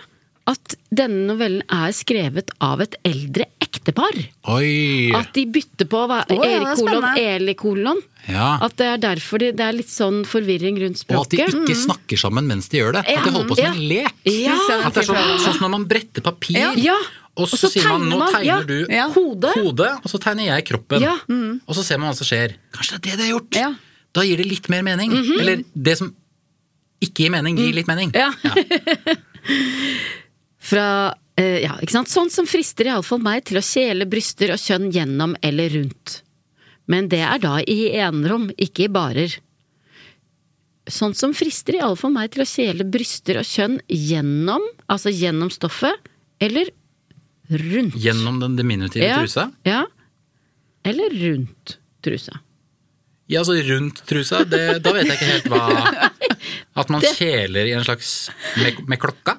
at denne novellen er skrevet av et eldre ektepar?
Oi!
At de bytter på hva,
Å, ja, det er
Erik kolon,
spennende.
Eli kolon?
Ja.
At det er derfor de, det er litt sånn forvirring rundt
Og at de
språket?
ikke snakker sammen mens de gjør det. At de holder på som en lek.
Ja.
At det er sånn, sånn som når man bretter papir,
Ja. Ja.
og så, sier man 'nå tegner
ja,
du
ja. hodet'.
og så tegner jeg kroppen.
Ja. mm.
Og så ser man hva som skjer. Kanskje det er det de har gjort? Da gir det litt mer mening.
Mhm.
Eller det som ikke gir mening,
Mm.
gir litt mening.
Fra eh, Ja, ikke sant. Sånt som frister iallfall meg til å kjele bryster og kjønn gjennom eller rundt. Men det er da i enerom, ikke i barer. Sånt som frister iallfall meg til å kjele bryster og kjønn gjennom, altså gjennom stoffet, eller rundt.
Gjennom den diminutive
Ja,
trusa.
Ja. Eller rundt trusa.
Ja, altså rundt trusa, det, da vet jeg ikke helt hva At man
Det-
kjeler i en slags med, med klokka.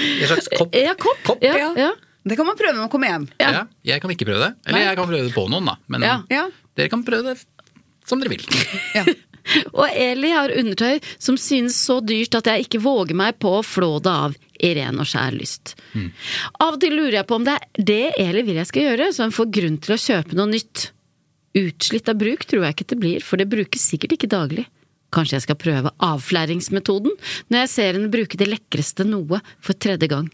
I en slags kopp.
Ja, kopp. Ja, ja.
Det kan man prøve når man kommer hjem.
Ja. jeg kan ikke prøve det. Eller
Nei.
jeg kan prøve det på noen, da. Men
Ja.
dere kan prøve det som dere vil.
Og Eli har undertøy som synes så dyrt at jeg ikke våger meg på å flå det av i ren og skjær lyst. Av og til lurer jeg på om det er det Eli vil jeg skal gjøre, så han får grunn til å kjøpe noe nytt. Utslitt av bruk tror jeg ikke det blir, for det brukes sikkert ikke daglig. Kanskje jeg skal prøve avflæringsmetoden når jeg ser henne bruke det lekreste noe for tredje gang.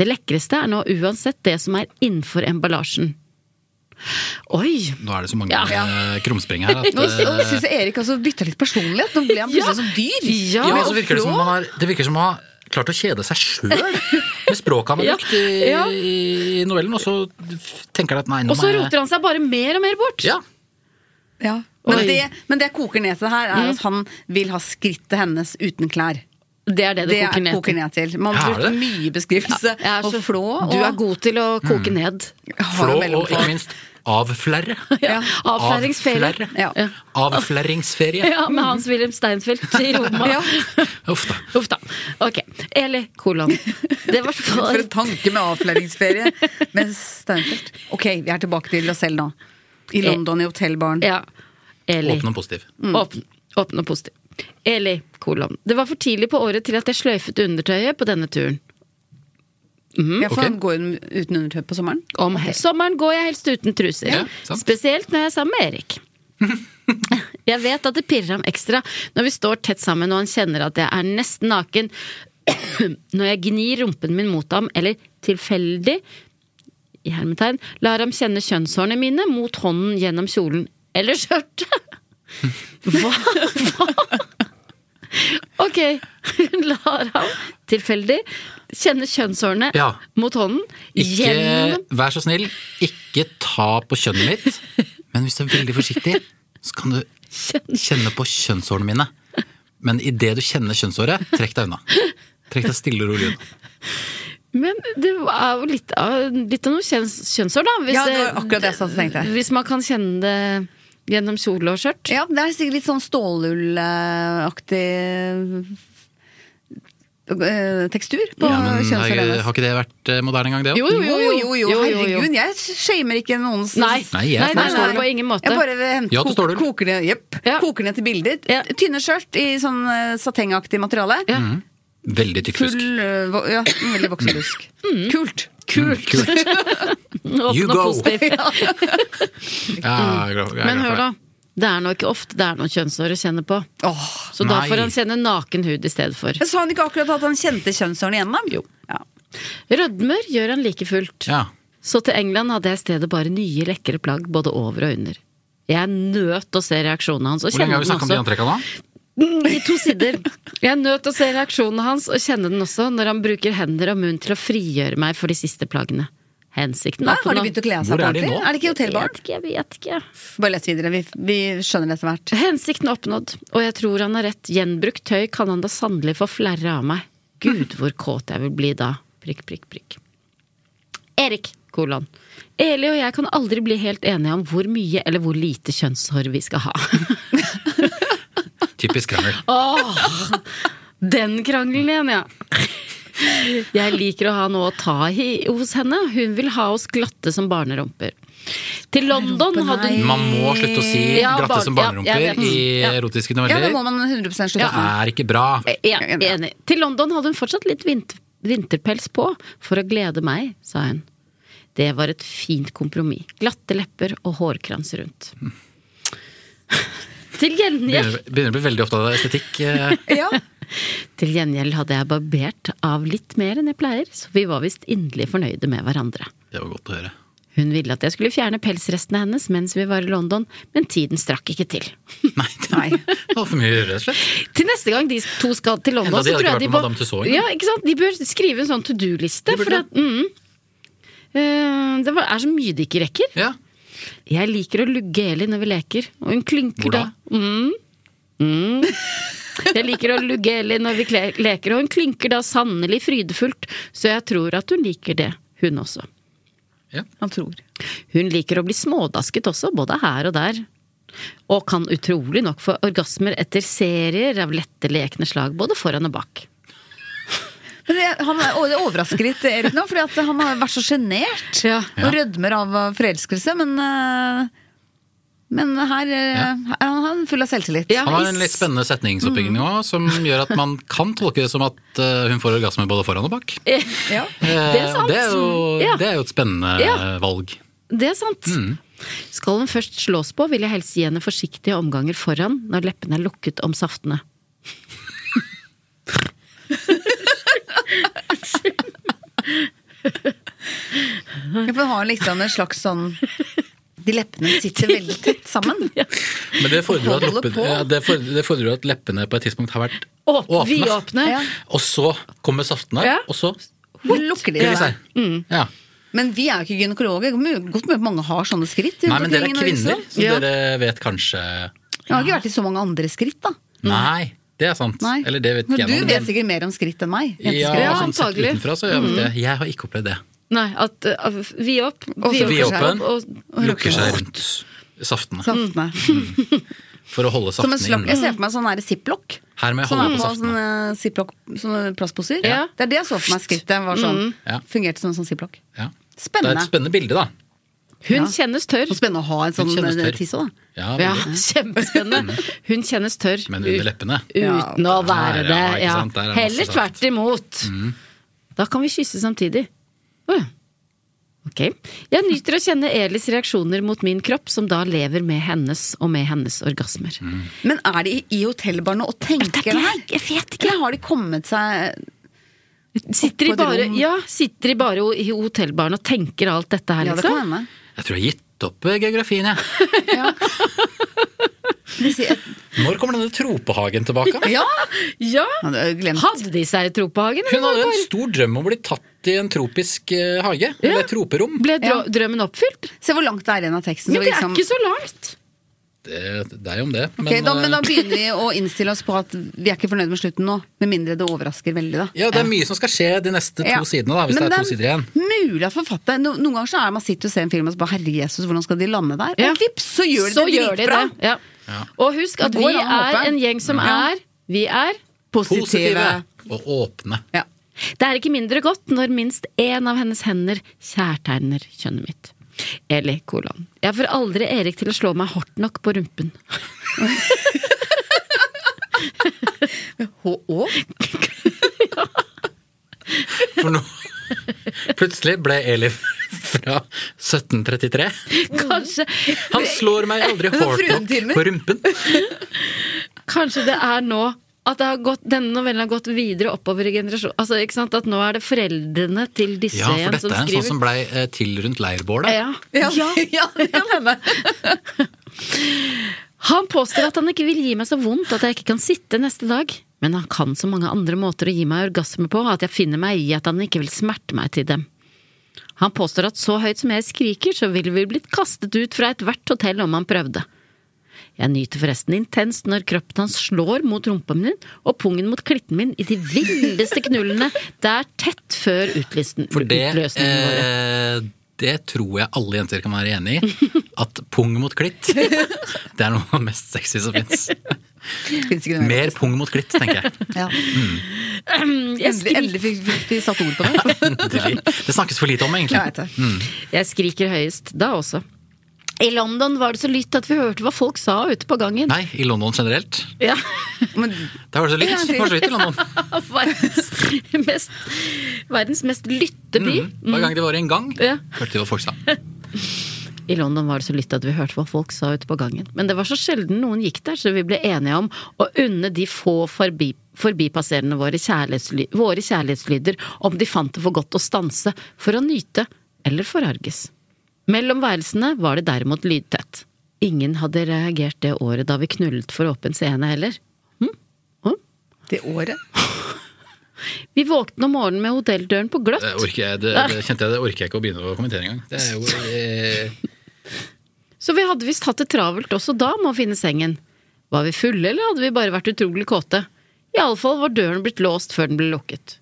Det lekreste er nå uansett det som er innenfor emballasjen. Oi!
Nå er det så mange
Ja.
eh, krumspring her at
Nå
eh,
syns jeg Erik altså bytta litt personlighet. Nå ble han plutselig som dyr.
ja, men så virker det, som om man har, det virker som om man har klart å kjede seg sjøl med språket han har
Ja.
brukt i,
Ja.
i novellen, og så tenker han at nei, nå
Og så
må jeg-
roter han seg bare mer og mer bort.
Ja.
Ja. Men,
Oi.
det, men det jeg koker ned til det her, er
Mm.
at han vil ha skrittet hennes uten klær.
Det er det det, koker, ned
koker ned til. Man har brukt mye beskrivelse. og flå og
Du er god til å koke ned.
Flå og ikke minst avflerre.
Ja. Avflæringsferie.
Avflerre. Avflerringsferie.
Ja, med Hans-Wilhelm Steinfeld i Roma.
Uff da.
Uff da. Ok. Eli kolon. Det var
For en tanke med avfløringsferie med Steinfeld. Ok, vi er tilbake til oss selv nå. I London, i hotellbaren.
Eh, Ja. Eli.
Åpen og positiv.
Mm. Åpen, åpen og positiv. Eli kolon. Det var for tidlig på året til at jeg sløyfet undertøyet på denne turen. Mhm.
Ja, for han går hun uten undertøy på sommeren?
Om sommeren går jeg helst uten truser.
Ja, sant.
Spesielt når jeg er sammen med Erik. jeg vet at det pirrer ham ekstra når vi står tett sammen og han kjenner at jeg er nesten naken når jeg gnir rumpen min mot ham, eller tilfeldig i hermetegn, lar ham kjenne kjønnshårene mine mot hånden gjennom kjolen eller skjørtet. Hva? Hva? Ok, hun lar ham tilfeldig kjenne kjønnshårene
Ja.
mot hånden
Ikke,
gjennom
vær så snill, ikke ta på kjønnet mitt, men hvis du er veldig forsiktig, så kan du kjenne på kjønnshårene mine. Men idet du kjenner kjønnshåret, trekk deg unna. Trekk deg stille og rolig unna.
Men det er jo litt av, litt av noe kjønns, kjønnshår, da.
Ja, det var akkurat det jeg satt og tenkte.
Hvis man kan kjenne det gjennom kjole og skjørt.
Ja, det er sikkert litt sånn stålullaktig eh, tekstur på
Ja, men
kjønnshåret
har,
hennes.
har ikke det vært eh, moderne en gang, det
Jo, jo, jo, jo,
jo, jo, jo.
herregud, jeg shamer ikke noens
Nei.
Nei, jeg Nei, nei, forstår nei, det.
på ingen måte.
Jeg bare hent,
Ja, til
koker,
stålull.
koker, ned, jepp, koker ned til bilder. Tynne skjørt i sånn eh, satengaktig materiale.
Mhm. Veldig tykkfisk.
Full eh, vo- Ja, veldig voksendusk. Kult!
Mm.
Mm.
Kult!
You
Åpen og
go.
positiv.
Ja, jeg er glad- jeg er
Men
glad for
hør, da.
det.
Det er nå ikke ofte det er noe kjønnshår å kjenne på. Så da
nei.
får han kjenne naken hud i stedet for.
Men Sa han ikke akkurat at han kjente kjønnshårene igjen, da? Jo.
Rødmer gjør han like fullt. Så til England hadde jeg i stedet bare nye lekre plagg både over og under. Jeg nøt å se reaksjonen hans. Og
Hvor lenge
kjenne
har vi
den
snakket om de
også.
antrekka nå?
Mm, I to sider. Jeg er nødt til å se reaksjonen hans og kjenne den også når han bruker hender og munn til å frigjøre meg for de siste plaggene. Hensikten
Nei, har de begynt å kle seg på ordentlig? Er det ikke hotellbarn?
Jeg vet ikke.
Bare les videre, vi, vi skjønner det etter hvert.
Hensikten er oppnådd, og jeg tror han har rett. Gjenbrukt tøy kan han da sannelig få flerre av meg. Gud, hvor kåt jeg vil bli da. Prikk, prikk, prikk. Erik, kolon. Eli og jeg kan aldri bli helt enige om hvor mye eller hvor lite kjønnshår vi skal ha.
Typisk krangel.
Åh, den krangelen igjen, ja. Jeg liker å ha noe å ta i hos henne. Hun vil ha oss glatte som barnerumper. Til London hadde hun
Man må slutte å si
Ja,
glatte
barn-
som
ja,
barnerumper
jeg vet.
i
Ja.
erotiske noveller.
man
100 slutte
det er ikke bra.
Eh, Ja, enig. Til London hadde hun fortsatt litt vinter, vinterpels på, for å glede meg, sa hun. Det var et fint kompromiss. Glatte lepper og hårkrans rundt. Til gjengjeld
Begynner, begynner å bli veldig opptatt av estetikk. eh.
Til gjengjeld hadde jeg barbert av litt mer enn jeg pleier, så vi var visst inderlig fornøyde med hverandre.
Det var godt å høre.
Hun ville at jeg skulle fjerne pelsrestene hennes mens vi var i London, men tiden strakk ikke til.
Det var for mye, rett og slett.
Til neste gang de to skal til London,
Enda de
så
hadde
tror
ikke vært
jeg de
på
må
Madame Tussauds engang.
ja, ikke sant? De bør skrive en sånn to do-liste.
burde
for at- mm. Eh, det var- er så mye de ikke rekker. Jeg liker å lugge Eli når vi leker, og hun klynker
Hvor da?
Mm. Mm. Jeg liker å lugge Eli når vi kle- leker, og hun klynker da sannelig frydefullt, så jeg tror at hun liker det, hun også.
Han tror.
Hun liker å bli smådasket også, både her og der. Og kan utrolig nok få orgasmer etter serier av lette, lekne slag, både foran og bak.
Men det, han, er- å, det overrasker litt Erik nå, fordi at han har vært så sjenert og rødmer av forelskelse. Men, eh, men her eh,
Ja.
er han full av selvtillit.
Han har en litt spennende setningsoppbygging òg,
Mm.
som gjør at man kan tolke det som at eh, hun får orgasme både foran og bak.
Ja.
Eh,
Det er sant.
Det er jo,
Ja.
det er jo et spennende
Ja.
valg.
Det er sant.
Mm.
Skal hun først slås på, vil jeg helst gi henne forsiktige omganger foran når leppene er lukket om saftene.
Ja, for han har liksom en slags sånn De leppene sitter veldig tett sammen.
Men det fordrer, at
Holder
leppene,
på.
ja, det fordrer, det fordrer at leppene på et tidspunkt har vært
Åp-
åpne.
vidåpne. Ja.
Og så kommer saftene,
Ja. Mm.
og så
Hvor lukker de
Ja.
seg?
Ja.
Men vi er jo ikke gynekologer. Det er Godt mulig at mange har sånne skritt.
Nei, men dere er kvinner, så
Ja.
dere vet kanskje
Jeg har ikke vært i så mange andre skritt, da.
Nei, Det er sant.
Mm. Nei.
Eller det vet
Men
ikke
du
jeg noe
vet
om.
sikkert mer om skritt enn meg.
Ja,
jenteskritt.
sånn sett
antagelig.
utenfra
Mm.
så gjør vi det.
Mhm.
Jeg har ikke opplevd det.
Nei, at eh, av- vi opp,
Vi
lukker seg
åpen,
opp, og-
lukker seg rundt saftene.
Saftene.
For å holde
Som en
saftene
slags, jeg ser
inne.
for meg sånn der ziplock.
Her må jeg
Som
holde
er
på
på
saftene.
sånne, ziplock, sånne plastposer.
Ja.
Det er det jeg så for meg skrittet var sånn.
Mm. Ja.
Fungerte som en sånn ziplock.
Ja. Det er
Spennende.
et spennende bilde, da.
Hun kjennes tørr.
Og spennende å ha en sånn
Hun kjennes
eh,
tørr.
tiss òg, da.
Ja,
Ja,
veldig.
kjempespennende. Hun kjennes tørr.
Mm. Men under
ut-
leppene.
Uten å være
Der,
det.
ja, ikke
Ja.
sant? Der er masse
Heller
saft.
tvert imot.
Mhm.
Da kan vi kysse samtidig. Å ja. Ok. Jeg nyter å kjenne Elis reaksjoner mot min kropp, som da lever med hennes og med hennes orgasmer.
Mm.
Men er de i hotellbarene og tenker det her?
Jeg vet
ikke. Eller har de kommet seg
Sitter
Oppå
de
et
bare,
rom.
ja, sitter de bare i hotellbaren og tenker alt dette her,
Ja, det
liksom?
kan hende.
Jeg tror jeg har gitt opp eh, geografien, jeg. Når kommer denne tropehagen tilbake?
Ja!
ja.
Hadde,
de seg i tropehagen?
Hun hadde en
bare-
stor drøm om å bli tatt i en tropisk eh, hage. Eller et troperom.
Ble drø- drømmen oppfylt?
Se hvor langt det er igjen av teksten. liksom-
Men det er ikke så langt!
Det, det er jo om det.
Ok, da, men da
eh,
begynner vi å innstille oss på at vi er ikke fornøyd med slutten nå. Med mindre det overrasker veldig, da.
eh, ja, det er mye som skal skje de neste to
Ja.
sidene, da, hvis
Men
det er to sider igjen.
Mulig at forfatter no, Noen ganger så er man sitter og ser en film og så bare Herre Jesus, hvordan skal de lande der?
Ja.
Og vips, så gjør de
Så
det
gjør de
dritbra!
det, ja. Og husk at
Det
vi
går an å håpe.
er en gjeng som
Ja.
er Vi er
Og åpne.
Det er ikke mindre godt når minst én av hennes hender kjærtegner kjønnet mitt. Eli kolon. Jeg får aldri Erik til å slå meg hardt nok på rumpen.
H.Å.?
For nå Plutselig ble Elif fra 1733.
Kanskje
Han slår meg aldri hardt nok på rumpen.
Kanskje det er nå at det har gått, denne novellen har gått videre oppover i generasjon. Altså, ikke sant? At nå er det foreldrene til disse
Ja, for
igjen
dette
som
er en sånn
skriver.
som blei eh, til rundt leirbålet.
Ja. Han påstår at han ikke vil gi meg så vondt at jeg ikke kan sitte neste dag. Men han kan så mange andre måter å gi meg orgasme på at jeg finner meg i at han ikke vil smerte meg til dem. Han påstår at så høyt som jeg skriker, så ville vi blitt kastet ut fra ethvert hotell om han prøvde. Jeg nyter forresten intenst når kroppen hans slår mot rumpa min og pungen mot klitten min i de villeste knullene. Det er tett før utlisten,
For det,
utløsningen vår.
eh, det tror jeg alle jenter kan være enig i. At pung mot klitt, det er noe av det mest sexy som fins. Mer pung mot klitt, tenker jeg.
Ja.
Endelig,
endelig fikk fikk vi satt ord på det.
Det snakkes for lite om,
Jeg vet det.
egentlig. Mm.
Jeg skriker høyest da også. I London var det så lytt at vi hørte hva folk sa ute på gangen.
Nei, i London generelt.
Ja.
Der var det så lytt. Det var så lytt i London.
verdens, mest, verdens mest lytteby.
Mm. Hver gang de var i en gang,
Ja.
hørte de hva folk sa.
I London var det så lytt at vi hørte hva folk sa ute på gangen. Men det var så sjelden noen gikk der, så vi ble enige om å unne de få forbi, forbipasserende våre, kjærlighetsly, våre kjærlighetslyder om de fant det for godt å stanse for å nyte eller forarges. Mellom værelsene var det derimot lydtett. Ingen hadde reagert det året da vi knullet for åpen scene heller. Hm? Hm?
Det året?
Vi våknet om morgenen med hotelldøren på gløtt.
Det, orker jeg, det, det kjente jeg, det orker jeg ikke å begynne å kommentere engang. Det er jo eh,
Så vi hadde visst hatt det travelt også da med å finne sengen. Var vi fulle, eller hadde vi bare vært utrolig kåte? Iallfall var døren blitt låst før den ble lukket.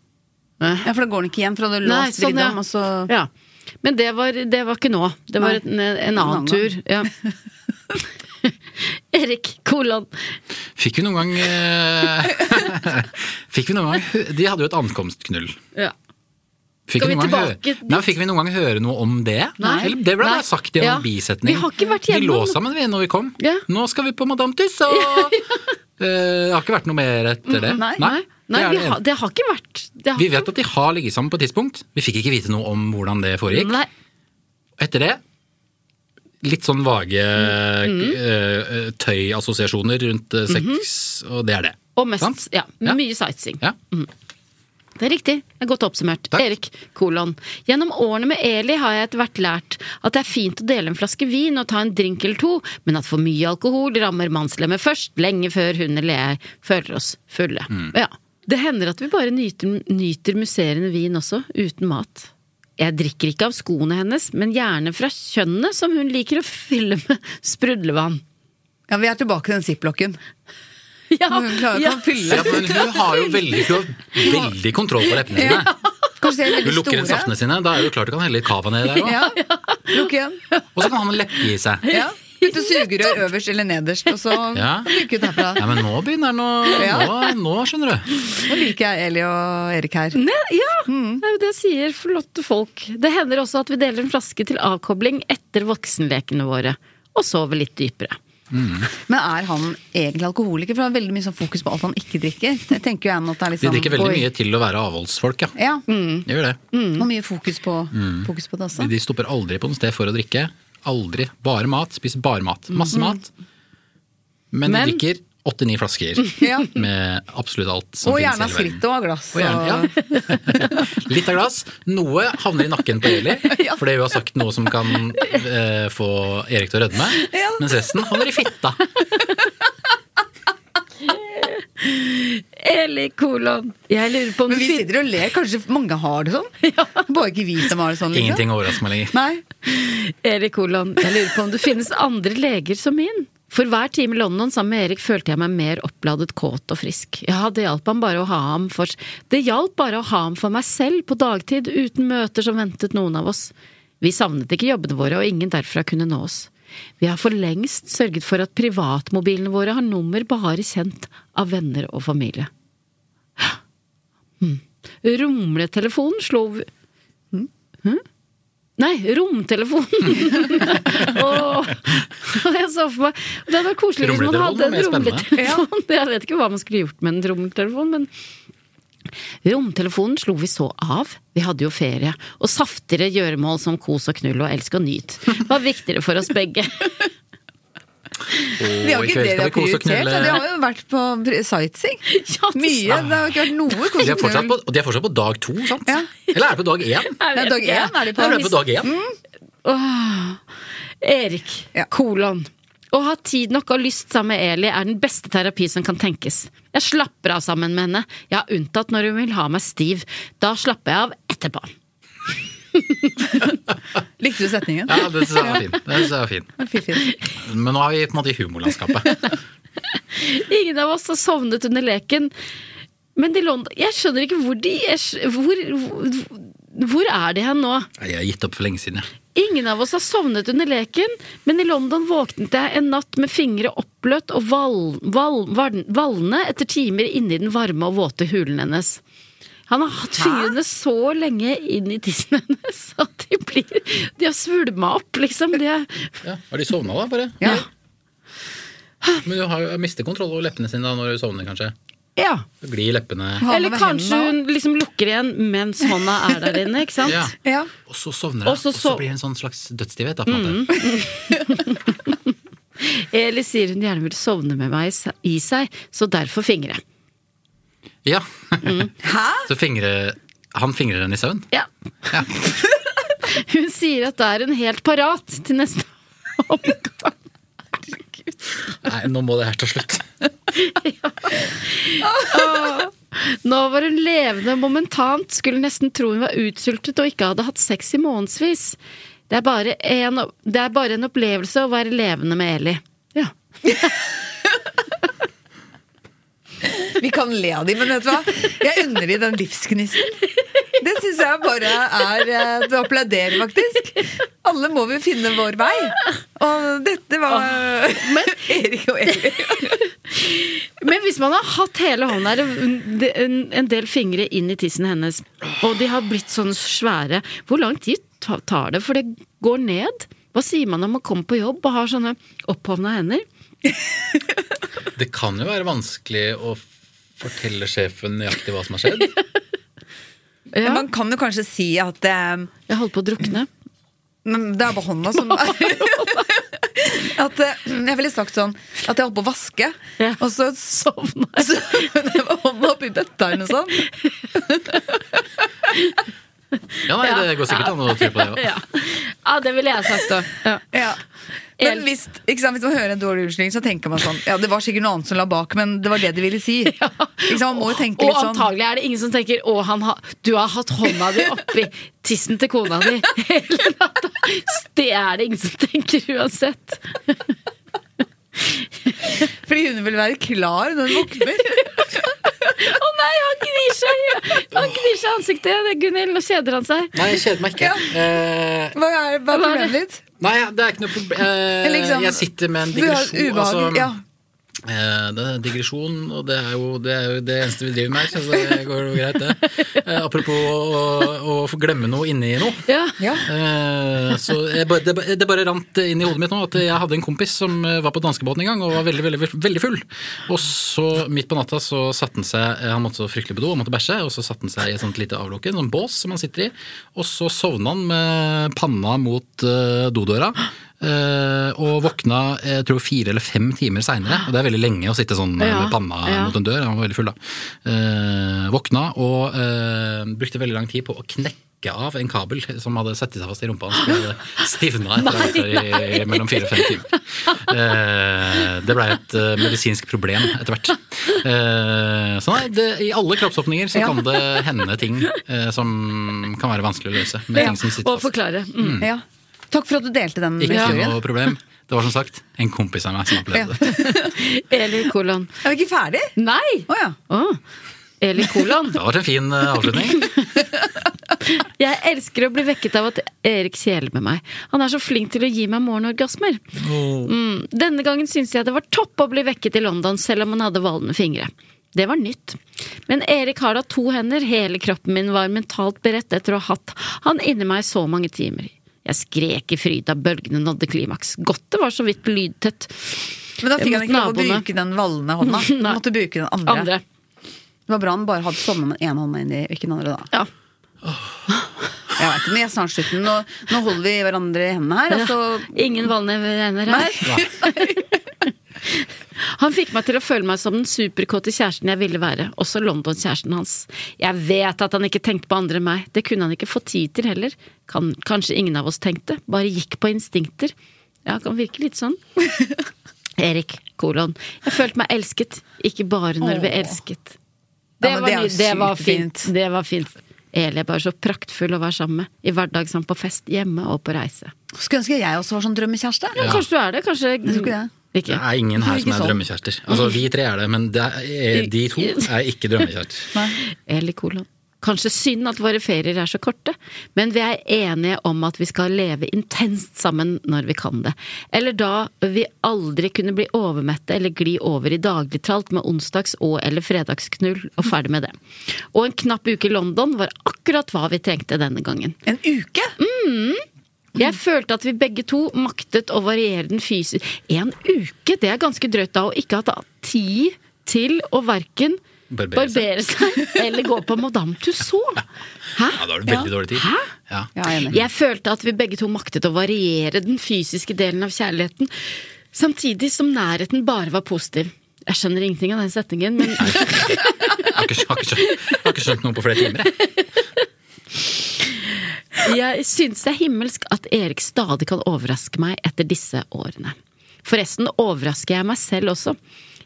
Ja, for da går den ikke igjen, for da hadde du
Nei,
låst
sånn,
vridd
ja.
om, og så
Ja. Men det var, det var ikke nå. Det var
Nei.
et, en, en
En
annen
annen
tur. Ja. Erik Koland.
Fikk vi noen gang eh, Fikk vi noen gang hø- De hadde jo et ankomstknull.
Ja.
Fikk
Skal vi
noen gang
tilbake
hø- Nei, fikk vi noen gang høre noe om det?
Nei.
Eller, det ble
Nei.
bare sagt i en
Ja.
bisetning.
Vi har ikke vært
Vi
gjennom-
lå sammen vi når vi kom. Nå skal vi på Madame Tussauds! Eh, det har ikke vært noe mer etter det.
Mm, Nei, nei,
det er
vi
det
har,
eneste.
det har ikke vært det har,
Vi vet at de har ligget sammen på et tidspunkt. Vi fikk ikke vite noe om hvordan det foregikk.
Nei.
Etter det litt sånn vage
Mm,
eh, eh, tøyassosiasjoner rundt eh, sex, og det er det.
Mhm. Og mest, ja, mye sightseeing.
Ja.
Mm. Det er riktig. Det er godt oppsummert. Erik, kolon. Gjennom årene med Eli har jeg etter hvert lært at det er fint å dele en flaske vin og ta en drink eller to, men at for mye alkohol rammer mannslemmet først, lenge før hun eller jeg føler oss fulle. Ja. Det hender at vi bare nyter, nyter musserende vin også, uten mat. Jeg drikker ikke av skoene hennes, men gjerne fra kjønnet som hun liker å fylle med sprudlevann.
Ja, vi er tilbake til den ziplocken. Hun klarer ikke å fylle
Ja, men hun har jo veldig, hun har veldig kontroll på leppene sine.
Kanskje de er
Hun
veldig
lukker
store.
inn saftene sine, da er det jo klart du kan helle litt cava nedi der òg.
Ja. Lukk igjen.
Og så kan han ha en leppe i seg.
Ja. Putte sugerør øverst eller nederst, og så
Ja.
lykke ut herfra.
Nei, men nå begynner den å
Ja.
nå, nå skjønner du.
Nå liker jeg Eli og Erik her.
Ne ja!
Mm.
Det er jo det jeg sier flotte folk. Det hender også at vi deler en flaske til avkobling etter voksenlekene våre. Og sover litt dypere.
Men er han egentlig alkoholiker? For han har veldig mye sånn fokus på alt han ikke drikker. Jeg tenker jo jeg nå at det er litt
De
sånn,
drikker veldig
oi.
mye til å være avholdsfolk, ja.
Ja. Mm.
De gjør det.
Og mye fokus på,
Mm.
fokus på det også.
De- De stopper aldri på noe sted for å drikke. Aldri. Bare mat. Spiser bare mat. Masse
Mm.
mat. Men,
Men-
de drikker åtte-ni flasker
Ja.
med absolutt alt som
Og
finnes
gjerne
i
av
sånn hele
skritt
verden.
og av glass.
Og gjerne,
og-
Litt av glass. Noe havner i nakken på Eli, fordi hun har sagt noe som kan eh, få Erik til å rødme. Mens resten havner i fitta.
Eli kolon. Jeg lurer på om
Men
du
vi
fin-
sitter og ler. Kanskje mange har det sånn? Bare ikke vi som har det sånn. liksom.
Ingenting overrasker meg lenger.
Nei.
Erik Kolon, jeg lurer på om det finnes andre leger som min? For hver time i London sammen med Erik følte jeg meg mer oppladet, kåt og frisk. Ja, det hjalp han bare å ha ham for Det hjalp bare å ha ham for meg selv på dagtid, uten møter som ventet noen av oss. Vi savnet ikke jobbene våre, og ingen derfra kunne nå oss. Vi har for lengst sørget for at privatmobilene våre har nummer bare kjent av venner og familie. Hmm. Rumletelefonen slo Hm? Nei, romtelefonen! Åh, og jeg så for meg Det hadde vært koselig hvis man hadde en
Romletelefonen er mer
romletelefon. Jeg vet ikke hva man skulle gjort med en romletelefon, men Romtelefonen slo vi så av. Vi hadde jo ferie. Og saftigere gjøremål som kos og knull og elsk og nyt var viktigere for oss begge.
Vi har
Og i
ikke det vi
kveld skal
har
vi kose og
prioritert.
knulle.
Det har jo vært på pri- sightseeing. Mye. Det har ikke vært noe
De
kos
er
og
fortsatt
knull.
på, og de er fortsatt på dag to, sant? Eller er det på dag én?
Ja, dag én er de på.
Er det på dag én?
Mm.
Åh, Erik, kolon. Å ha tid nok og lyst sammen med Eli er den beste terapi som kan tenkes. Jeg slapper av sammen med henne. Ja, unntatt når hun vil ha meg stiv. Da slapper jeg av etterpå.
Likte du setningen?
Ja, det synes jeg var fin. Det synes jeg var fin.
Fint, fint.
Men nå er vi på en måte i humorlandskapet.
Ingen av oss har sovnet under leken. Men de London Jeg skjønner ikke hvor de er Hvor, hvor, hvor er de hen nå?
Nei, Jeg har gitt opp for lenge siden, jeg.
Ingen av oss har sovnet under leken, men i London våknet jeg en natt med fingre oppbløtt og val- val- val- valne etter timer inne i den varme og våte hulen hennes. Han har hatt fingrene så lenge inn i tissen hennes at de blir De har svulma opp, liksom. De er,
Ja, har de sovna da, bare?
ja.
Men du har jo mistet kontroll over leppene sine da når du sovner, kanskje?
ja.
Så Glir leppene
Eller kanskje hun liksom lukker igjen mens hånda er der inne, ikke sant?
Ja.
Ja.
Og så sovner jeg,
Og
og
så
så, Mm.
sov-
blir det en sånn slags dødsstivhet. Da, på en måte.
Eller sier hun gjerne vil sovne med meg i se- i seg, så derfor fingre.
Ja. Mm. Så fingre, han fingrer henne i søvn.
Ja. Hun sier at da er hun helt parat til neste
Nei, nå må det her ta slutt.
Åh. Nå var hun levende momentant, skulle nesten tro hun var utsultet og ikke hadde hatt sex i månedsvis. Det er bare en, det er bare en opplevelse å være levende med Eli.
Vi kan le av dem, men vet du hva? Jeg unner dem den livsgnisten. Det syns jeg bare er eh, Du applauderer, faktisk. Alle må vi finne vår vei. Og dette var Erik og Eli.
Men hvis man har hatt hele hånda eller en en del fingre inn i tissen hennes, og de har blitt sånn svære, hvor lang tid ta- tar det? For det går ned. Hva sier man når man kommer på jobb og har sånne opphovna hender?
Det kan jo være vanskelig å fortelle sjefen nøyaktig hva som har skjedd.
Men Man kan jo kanskje si at Jeg
holdt på å drukne.
Men det er bare hånda som At eh, Jeg ville sagt sånn at jeg holdt på å vaske, og så
sovna
jeg. Det var hånda oppi bøtta eller noe sånt.
Ja, nei, det går sikkert an å tro på det òg.
Ja. ja, det ville jeg sagt òg.
Ja. Men hvis, ikke sant, hvis man hører en dårlig unnskyldning, så tenker man sånn Ja, det var sikkert noe annet som la bak, men det var det de ville si. Ikke sant, man må jo tenke
Og
litt sånn
antagelig er det ingen som tenker å, han har- du har hatt hånda di oppi tissen til kona di hele natta. Det er det ingen som tenker uansett.
Fordi hun vil være klar når hun våkner.
Å nei, han gnir seg Han gnir seg i ansiktet, Gunhild. Nå kjeder han seg.
Nei, jeg kjeder meg ikke. Eh,
Hva er, hva er problemet ditt?
Nei, det er ikke noe problem. Eh,
Eller liksom,
jeg sitter med en
du har
digresjon.
ubehag,
Altså,
ja.
eh, det er digresjon, og det er, jo, det er jo det eneste vi driver med her, så det går jo greit, det. Eh, apropos å, å få glemme noe inni noe. Eh, så jeg, bare- det, bare- det bare rant inn i hodet mitt nå at jeg hadde en kompis som eh, var på danskebåten en gang og var veldig, veldig, veldig full. Og så midt på natta så satte han seg eh, Han måtte så fryktelig på do, han måtte bæsje, og så satte han seg i et sånt lite avlukke, en sånn bås som han sitter i, og så sovna han med panna mot eh, dodøra. eh, og våkna eh, jeg tror fire eller fem timer seinere, og det er veldig lenge å sitte sånn eh,
Ja,
med panna
ja.
mot en dør. Han var veldig full, da. Eh, våkna og eh, brukte veldig lang tid på å knekke av en kabel som hadde satt seg fast i rumpa hans. som hadde Stivna etter å ha vært der i
Nei, nei.
mellom fire og fem timer. Eh, det blei et eh, medisinsk problem etter hvert. Eh, så nei, det, i alle kroppsåpninger så
Ja.
kan det hende ting eh, som kan være vanskelig å løse. Med ting som sitter
Og
fast.
forklare. Mm.
Mm.
Ja. Takk for at du delte den
Ikke
historien.
noe problem. Det var som sagt en kompis av meg som opplevde det.
Eli kolon.
Er vi ikke ferdig?
Nei! Å. Eli kolon.
Det har vært en fin eh, avslutning.
Jeg elsker å bli vekket av at Erik kjeler med meg. Han er så flink til å gi meg morgenorgasmer. Mm. Denne gangen syntes jeg det var topp å bli vekket i London, selv om han hadde valne fingre. Det var nytt. Men Erik har da to hender, hele kroppen min var mentalt beredt etter å ha hatt han inni meg så mange timer. Jeg skrek i fryd da bølgene nådde klimaks. Godt det var så vidt lydtett.
Men da fikk han
Mot
ikke lov å
naboene.
bruke den valne hånda. Han
Nei.
måtte bruke den andre.
Andre.
Det var bra han bare hadde sovna med én hånd inn i, ikke den andre, da. Jeg vet, ikke, men jeg er snart slutten. Nå, nå holder vi hverandre i hendene her.
Ja.
Altså,
Ingen valnevner her. Han fikk meg til å føle meg som den superkåte kjæresten jeg ville være, også London-kjæresten hans. Jeg vet at han ikke tenkte på andre enn meg, det kunne han ikke få tid til heller. Kan, kanskje ingen av oss tenkte, bare gikk på instinkter. Ja, kan virke litt sånn. Erik, kolon. Jeg følte meg elsket, ikke bare når vi
Åh.
elsket.
Ja,
Det,
men
var,
det er jo
ny- det var
sykt
fint. Det var fint. Eli er bare så praktfull å være sammen med, i hverdag som på fest, hjemme og på reise.
skulle ønske jeg også var sånn drømmekjæreste.
Ja, Kanskje du er det? Kanskje
tror ikke det.
Det er ingen her
sånn.
som er drømmekjærester. Altså, vi tre er det, men det er, de to er ikke drømmekjærester.
Eller kolon. Kanskje synd at våre ferier er så korte, men vi er enige om at vi skal leve intenst sammen når vi kan det. Eller da vi aldri kunne bli overmette eller gli over i dagligtralt med onsdags- og eller fredagsknull og ferdig med det. Og en knapp uke i London var akkurat hva vi trengte denne gangen.
En uke?
Mm. Jeg følte at vi begge to maktet å variere den fysiske En uke, det er ganske drøyt da, å ikke ha tatt tid til å verken
Barbere seg.
barbere seg eller gå på Madame Tussauds. Hæ?
Ja, da har du veldig dårlig tid.
Hæ?
Ja.
Jeg følte at vi begge to maktet å variere den fysiske delen av kjærligheten, samtidig som nærheten bare var positiv. Jeg skjønner ingenting av den setningen, men
Jeg har ikke, jeg har ikke, skjønt, jeg har ikke skjønt noe på flere timer. Jeg.
Jeg synes det er himmelsk at Erik stadig kan overraske meg etter disse årene. Forresten overrasker jeg meg selv også.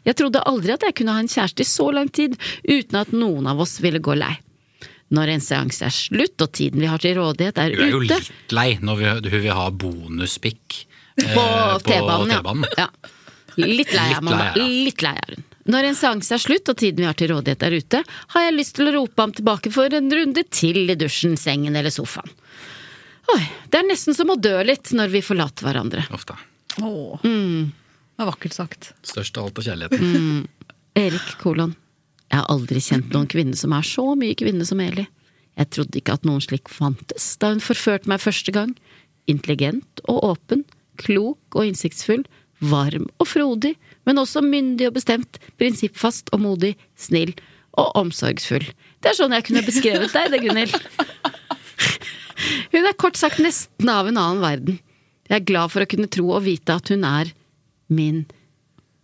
Jeg trodde aldri at jeg kunne ha en kjæreste i så lang tid uten at noen av oss ville gå lei. Når en seanse er slutt og tiden vi har til rådighet er
Du er jo
ute
litt lei når vi, du vil ha bonuspikk eh,
på T-banen, ja.
T-banen.
ja. Litt lei
Litt
er man da.
lei er hun.
Litt lei er hun. Når en seanse er slutt og tiden vi har til rådighet er ute, har jeg lyst til å rope ham tilbake for en runde til i dusjen, sengen eller sofaen. Oi, det er nesten som å dø litt når vi forlater hverandre.
Ofte.
Åh,
Mm.
det var vakkert sagt.
Størst av alt av kjærligheten.
Mm. Erik kolon. Jeg har aldri kjent noen kvinne som er så mye kvinne som Eli. Jeg trodde ikke at noen slik fantes da hun forførte meg første gang. Intelligent og åpen, klok og innsiktsfull, varm og frodig, men også myndig og bestemt, prinsippfast og modig, snill og omsorgsfull. Det er sånn jeg kunne beskrevet deg, det, Gunhild. Hun er kort sagt nesten av en annen verden. Jeg er glad for å kunne tro og vite at hun er min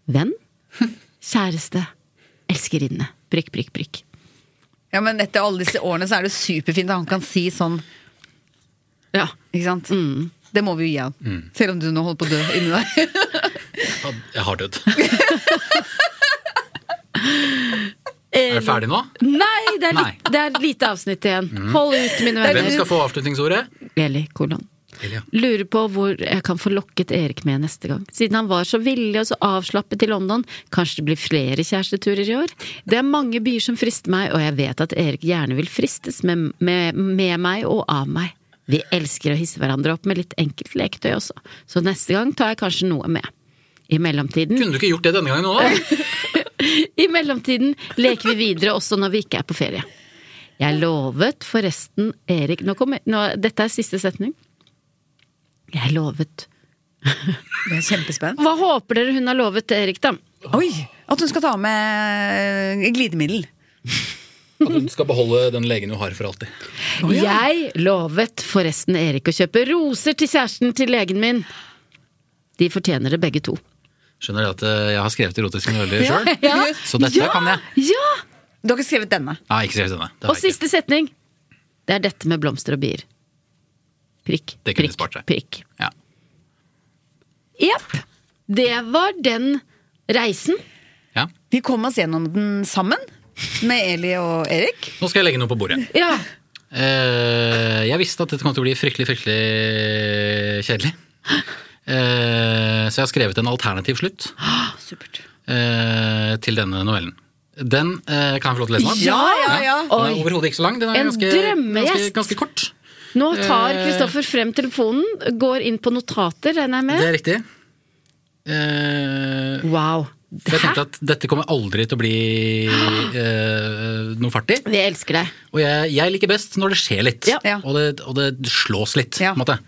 venn, kjæreste, elskerinne. Prikk, prikk, prikk.
Ja, men etter alle disse årene så er det superfint at han kan si sånn.
Ja.
Ikke sant?
Mm.
Det må vi jo gi han.
Mm.
Selv om du nå holder på å dø inni deg.
Jeg har dødd. Er du ferdig nå?
Nei, det er,
Nei.
litt, det er et lite avsnitt igjen.
Mm.
Hold ut, mine
Hvem
venner.
skal få avslutningsordet?
Eli kolon.
Deilig, ja.
Lurer på hvor jeg kan få lokket Erik med neste gang. Siden han var så villig og så avslappet i London, kanskje det blir flere kjæresteturer i år? Det er mange byer som frister meg, og jeg vet at Erik gjerne vil fristes med, med, med meg og av meg. Vi elsker å hisse hverandre opp med litt enkelt leketøy også, så neste gang tar jeg kanskje noe med. I mellomtiden
Kunne du ikke gjort det denne gangen òg, da?
I mellomtiden leker vi videre også når vi ikke er på ferie. Jeg lovet forresten Erik nå kommer, nå, Dette er siste setning. Jeg lovet
Jeg er kjempespent.
Hva håper dere hun har lovet Erik, da?
Oi! At hun skal ta med eh, glidemiddel.
At hun skal beholde den legen hun har for alltid.
Jeg lovet forresten Erik å kjøpe roser til kjæresten til legen min. De fortjener det begge to.
Skjønner det at eh, jeg har skrevet erotiske noveller
Ja,
sjøl,
ja.
så dette
Ja!
kan jeg.
Ja!
Du har ikke skrevet denne.
Nei, ikke skrevet denne. Det har
Og
jeg ikke.
siste setning. Det er dette med blomster og bier. Prikk,
Det kunne
prikk,
spart seg.
prikk.
Ja.
Jepp. Det var den reisen.
Vi kom oss gjennom den sammen. Med Eli og Erik.
Nå skal jeg legge noe på bordet.
Ja.
Eh, jeg visste at dette kom til å bli fryktelig, fryktelig kjedelig. Eh, så jeg har skrevet en alternativ slutt
Ah,
eh, til denne novellen. Den eh, kan jeg få lov til å lese nå?
Ja, ja, ja.
Den er
Oi.
overhodet ikke så lang. Den er
En
ganske, ganske,
drømmegjest.
ganske kort.
Nå tar
Eh.
Kristoffer frem telefonen, går inn på notater, regner jeg med.
Det er riktig. Eh,
wow.
For jeg tenkte at dette kommer aldri til å bli eh, noe fart i.
Vi elsker deg.
Og jeg, jeg liker best når det skjer litt, Og, det, og det slås litt. på en måte.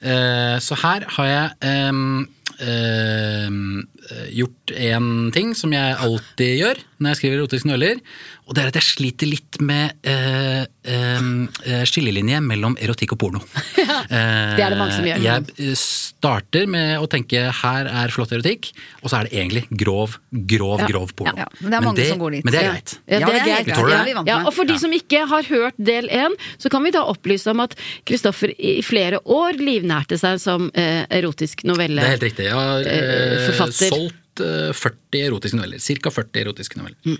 Eh, så her har jeg ehm, ehm, gjort en ting som jeg alltid gjør når jeg skriver erotiske noveller, og det er at jeg sliter litt med eh, ehm, eh, skillelinje mellom erotikk og porno.
Det er det mange som gjør.
Jeg eh, starter med å tenke her er flott erotikk, og så er det egentlig grov, grov,
Ja.
grov porno.
Ja. Men det er mange som går dit.
Men det er
Ja.
greit.
Ja, det er greit.
Vi tåler
Ja,
det.
ja, og for de som ikke har hørt del én, så kan vi da opplyse om at Kristoffer i flere år livnærte seg som eh, erotisk novelle.
Det er helt riktig. Jeg har
eh,
eh,
forfatter.
solgt eh, 40 erotiske noveller. Cirka 40 erotiske noveller.
Mm.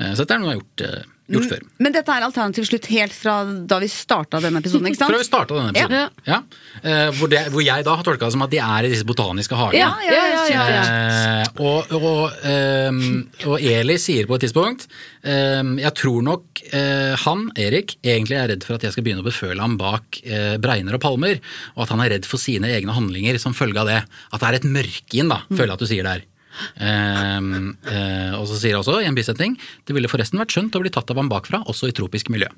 Eh, så dette er noe jeg har gjort, eh, gjort før.
Men dette er alternativ slutt helt fra da vi starta denne episoden, ikke sant?
Fra vi starta denne episoden.
Ja.
Ja. Eh, hvor, det, hvor jeg da har tolka det som at de er i disse botaniske hagene.
Ja, ja, ja, ja,
Eh, og, og, ehm, og Eli sier på et tidspunkt ehm, Jeg tror nok eh, han, Erik, egentlig er redd for at jeg skal begynne å beføle ham bak eh, bregner og palmer, og at han er redd for sine egne handlinger som følge av det. At det er et mørke inn, da,
Mm.
føler jeg at du sier der. Ehm, eh, og så sier jeg også, i en bisetning, det ville forresten vært skjønt å bli tatt av ham bakfra, også i tropisk miljø.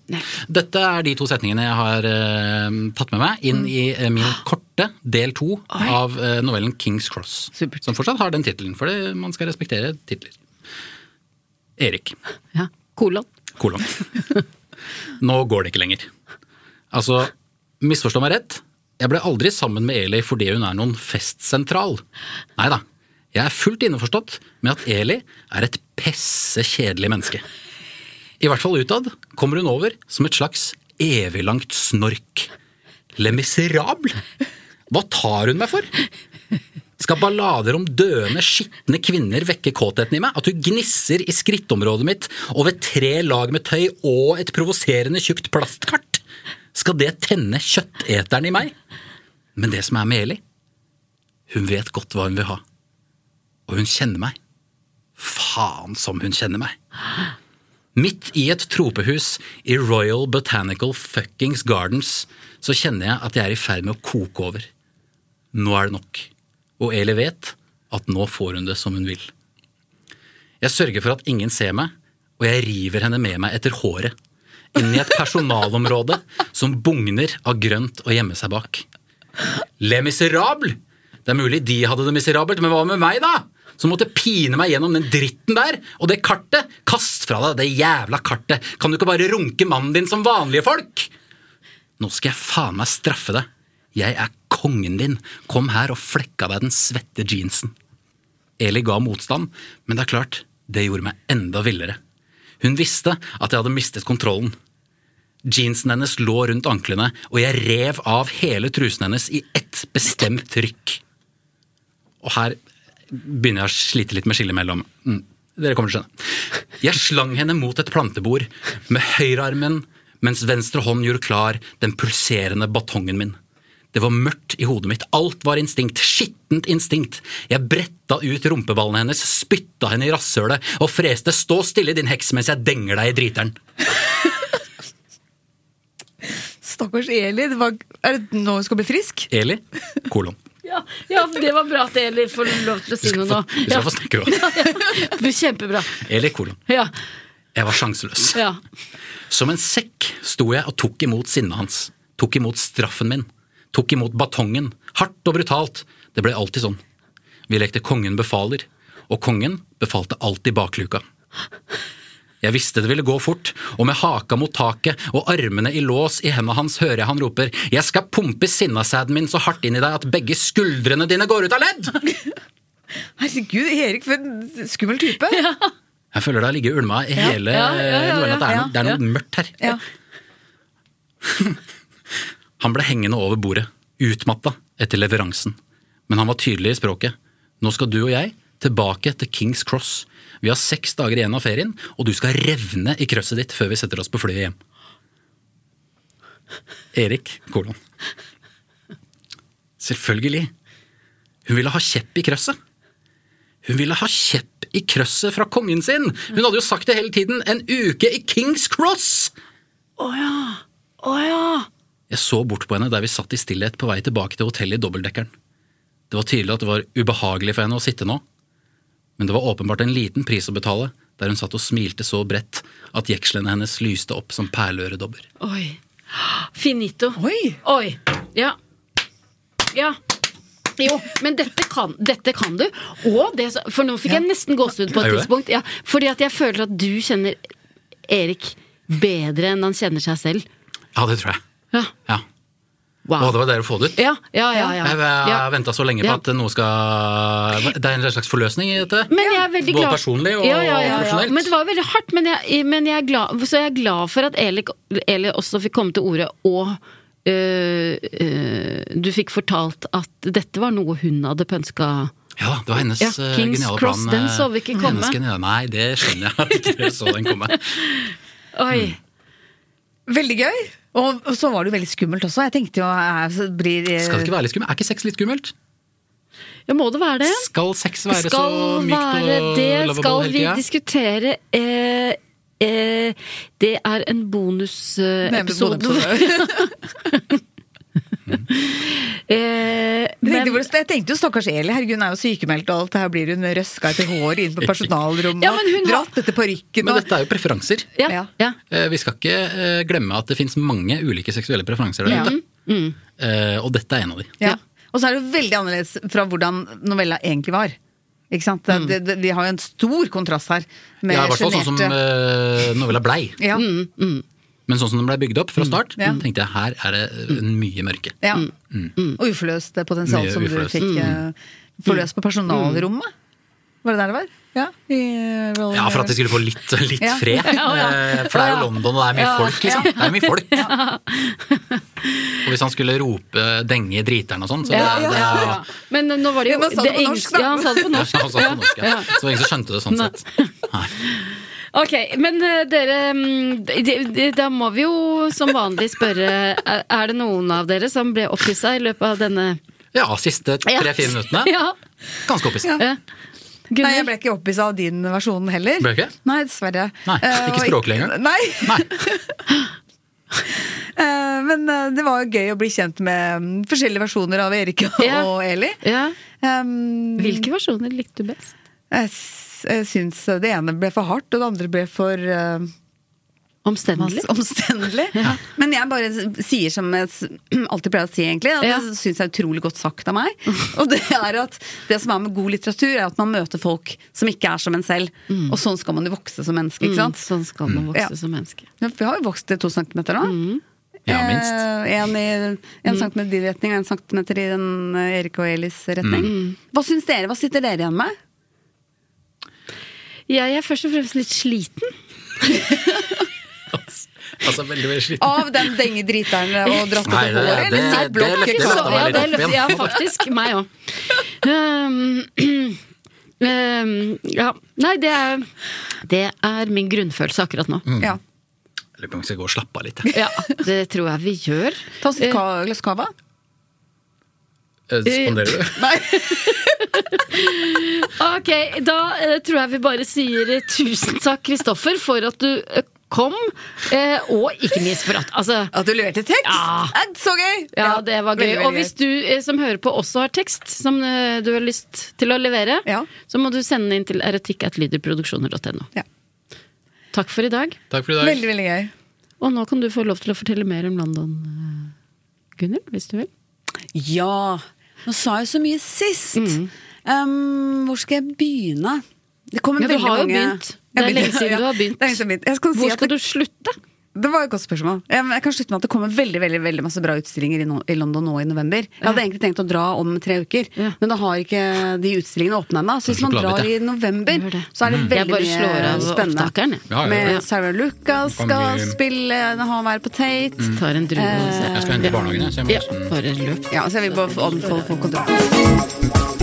Dette er de to setningene jeg har eh, tatt med meg inn i eh, min korte del to av eh, novellen Kings Cross. Som fortsatt har den tittelen, for det, man skal respektere titler. Erik.
Ja, kolon.
Kolon. Nå går det ikke lenger. Altså, misforstå meg rett. Jeg ble aldri sammen med Eli fordi hun er noen festsentral. Nei da. Jeg er fullt innforstått med at Eli er et pesse kjedelig menneske. I hvert fall utad kommer hun over som et slags eviglangt snork. Le miserable! Hva tar hun meg for? Skal ballader om døende, skitne kvinner vekke kåtheten i meg? At du gnisser i skrittområdet mitt over tre lag med tøy og et provoserende tjukt plastkart? Skal det tenne kjøtteteren i meg? Men det som er med Eli, hun vet godt hva hun vil ha. Og hun kjenner meg. Faen som hun kjenner meg. Midt i et tropehus i Royal Botanical Fuckings Gardens så kjenner jeg at jeg er i ferd med å koke over. Nå er det nok. Og Eli vet at nå får hun det som hun vil. Jeg sørger for at ingen ser meg, og jeg river henne med meg etter håret. Inn i et personalområde som bugner av grønt å gjemme seg bak. Le miserable! Det er mulig de hadde det miserabelt, men hva med meg, da? Som måtte pine meg gjennom den dritten der og det kartet! Kast fra deg det jævla kartet! Kan du ikke bare runke mannen din som vanlige folk? Nå skal jeg faen meg straffe deg. Jeg er kongen din. Kom her og flekk av deg den svette jeansen. Eli ga motstand, men det er klart, det gjorde meg enda villere. Hun visste at jeg hadde mistet kontrollen. Jeansen hennes lå rundt anklene, og jeg rev av hele trusen hennes i ett bestemt rykk. Og her begynner jeg å slite litt med skillet mellom mm, Dere kommer til å skjønne. Jeg slang henne mot et plantebord med høyrearmen mens venstre hånd gjorde klar den pulserende batongen min. Det var mørkt i hodet mitt. Alt var instinkt. Skittent instinkt. Jeg bretta ut rumpeballene hennes, spytta henne i rasshølet og freste 'stå stille, din heks', mens jeg denger deg i driteren.
Stakkars Eli. Det var, er det nå hun skal bli frisk?
Eli, kolon.
Ja, ja, det var bra at Eli får lov til å si
Du skal få-
noe
du
nå.
skal
Ja.
få snakke også.
Ja, ja. Kjempebra.
Eli, kolon.
Ja.
Jeg var sjanseløs.
ja.
Som en sekk sto jeg og tok imot sinnet hans. Tok imot straffen min. Tok imot batongen. Hardt og brutalt. Det ble alltid sånn. Vi lekte Kongen befaler, og kongen befalte alltid bakluka. Jeg visste det ville gå fort, og med haka mot taket og armene i lås i henda hans hører jeg han roper 'Jeg skal pumpe sinnasæden min så hardt inn i deg at begge skuldrene dine går ut av ledd!'
Herregud, Erik, for en skummel type. Ja.
Jeg føler det har ligget ulma i
Ja,
hele
ja, ja, ja,
novellen at det er noe,
ja,
det er noe
ja.
mørkt her. Han ble hengende over bordet, utmatta etter leveransen. Men han var tydelig i språket. Nå skal du og jeg tilbake til Kings Cross. Vi har seks dager igjen av ferien, og du skal revne i krøsset ditt før vi setter oss på flyet hjem. Erik kolon. Selvfølgelig. Hun ville ha kjepp i krøsset. Hun ville ha kjepp i krøsset fra kongen sin! Hun hadde jo sagt det hele tiden! En uke i Kings Cross!
Å ja. Å ja.
Jeg så bort på henne der vi satt i stillhet på vei tilbake til hotellet i dobbeltdekkeren. Det var tydelig at det var ubehagelig for henne å sitte nå, men det var åpenbart en liten pris å betale, der hun satt og smilte så bredt at jekslene hennes lyste opp som perleøredobber.
Oi. Finito. Oi. Oi. Ja. Ja. Jo, men dette kan, dette kan du. Og det, så- for nå fikk jeg nesten gåsehud på
Gjorde
et
det?
tidspunkt. Ja, fordi at jeg føler at du kjenner Erik bedre enn han kjenner seg selv.
Ja, det tror jeg.
Ja.
Ja. Å, det var dere å få det ut?
Ja, ja, ja, ja.
Jeg
Ja.
har venta så lenge på
Ja.
at noe skal Det er en slags forløsning i dette?
Men jeg er veldig
Både
glad
personlig og profesjonelt.
Men det var veldig hardt, men jeg, men jeg er glad, så jeg er glad for at Eli, Eli også fikk komme til ordet, og øh, øh, du fikk fortalt at dette var noe hun hadde pønska.
Ja, det var hennes
Ja,
eh,
Kings
geniale
Cross,
plan.
den
eh,
så vi ikke
hennes
komme. Eh.
geniale- Nei, det skjønner jeg at ikke dere så den komme.
Oi.
Veldig gøy. Og og så var det jo veldig skummelt også. Jeg tenkte jo eh, så blir eh,
Skal det ikke være litt skummelt? Er ikke sex litt skummelt?
Ja, må det være det?
Skal sex være
Skal
så mykt
være
og
det,
lovable
skal
hele
vi
tida?
diskutere eh, eh, Det er en eh, bonusepisode.
sånn-
Eh,
Jeg tenkte, hvor- jeg tenkte jo stakkars Eli, herregud hun er jo sykemeldt og alt det her blir hun røska etter hår inn på personalrommet
Ja, men hun
og
har-
dratt etter parykken
Men
og
dette er jo preferanser.
Ja, ja.
Eh, Vi skal ikke eh, glemme at det fins mange ulike seksuelle preferanser der
Ja.
ute. Eh, Og dette er en av de.
Ja. Og så er det jo veldig annerledes fra hvordan novella egentlig var. Ikke sant? Det, det, det, vi har jo en stor kontrast her. Med
Mm. ja, I hvert fall sånn som
sjenerte-
eh, novella blei.
ja.
Mm.
Men sånn som den blei bygd opp fra start,
Ja.
tenkte jeg her er det eh, mye mørke.
Ja. Og uforløst potensial
Mm. Mye
som du
uforløst.
fikk
Mm.
eh, forløst på personalrommet. Var det der det var? Ja, i eh, Rolling
Ja, for at de skulle få litt, litt
Ja.
fred.
Ja, ja.
Eh, For det er jo London, og det er mye
Ja.
folk, liksom. Det er mye folk.
Ja.
Og hvis han skulle rope 'denge i driteren' og sånn, så det,
Ja, ja,
det,
ja, ja. Men eh, nå var det jo
Ja, men han sa det på norsk,
engelske-
da.
Ja, han sa det på norsk.
Han sa det på norsk, ja.
Ja.
Så det var ingen som skjønte det sånn
Nei.
sett.
Ok, men eh, dere mm, de- de- Da må vi jo som vanlig spørre Er er det noen av dere som ble opphissa i løpet av denne
Ja, siste tre-fire minuttene.
Ja.
Ganske opphisset.
Ja.
Nei, jeg ble ikke opphissa av din versjon heller.
Ble du ikke?
Nei, dessverre.
Nei,
Eh,
ikke
og-
språklig engang?
Nei. Eh, Men eh, det var jo gøy å bli kjent med mm, forskjellige versjoner av Erik og
Ja.
Eli. Um,
Hvilke versjoner likte du best?
Jeg s- jeg syns det ene ble for hardt, og det andre ble for eh,
Omstendelig?
masse- omstendelig. Men jeg bare s- sier som jeg s- alltid pleier å si, egentlig, og det syns jeg er utrolig godt sagt av meg. Og det er at det som er med god litteratur, er at man møter folk som ikke er som en selv. Og sånn skal man jo vokse som menneske, ikke sant?
Mm, sånn skal man vokse
Ja.
som menneske.
Ja, for Vi har jo vokst til to centimeter nå.
Ja, minst.
Eh, en i, en centimeter i din retning og en centimeter i den eh, Erik og Elis retning.
Mm.
Hva syns dere? Hva sitter dere igjen med?
Jeg er først og fremst litt sliten.
Altså, veldig, veldig sliten.
Av den dengedriteren og dratt opp
Nei, det-
håret?
det-
Eller
det
blokk?
løfter
ikke
løfter
sant?
meg
Ja,
litt
det
opp
løfter, ja,
igjen.
faktisk. Meg òg. um, ja. Nei, det er, det er min grunnfølelse akkurat nå.
Mm.
Ja.
Jeg lurer på om vi skal gå og slappe av litt. jeg.
Ja, det tror jeg vi gjør.
Ta oss et ka- glass cava.
Eh, Spanderer du?
Ok, da eh, tror jeg vi bare sier eh, tusen takk, Kristoffer, for at du eh, kom. Eh, og ikke minst for at altså,
At du leverte tekst!
Ja.
Eh, Så gøy!
Ja, det var gøy.
veldig, veldig
og hvis du eh, som hører på også har tekst som eh, du har lyst til å levere, så må du sende den inn til erotikk.lyderproduksjoner.no. Takk for i dag.
Takk for i dag.
Veldig, veldig gøy.
Og nå kan du få lov til å fortelle mer om London, eh, Gunnhild, hvis du vil.
Ja! Nå sa jeg så mye sist!
Mm.
Um, hvor skal jeg begynne? Det kommer
Ja, du
veldig
har jo
mange
begynt.
Jeg
Det er
begynte-
lenge siden
ja,
du har begynt.
det er lenge siden jeg begynte. Jeg kan si
Hvor
at
skal
det-
du slutte?
Det var et godt spørsmål. Jeg jeg kan slutte med at det kommer veldig veldig, veldig masse bra utstillinger i, no i London nå i november. Jeg hadde egentlig tenkt å dra om tre uker, men da har ikke de utstillingene åpna ennå. Så hvis man
Sjokolade,
drar i
ja.
november, så er det
Mm. Jeg
veldig
bare slår
mye
av opptakeren,
spennende.
jeg. Ja, ja, ja. Ja.
Med Sarah Lucas
Kan
skal
vi-
spille, han være på Tate.
Mm. Tar en drue og ser. Jeg skal hente barnehagen, jeg, så jeg må nesten- bare løp.
Ja, så jeg vil bare anbefale folk å dra.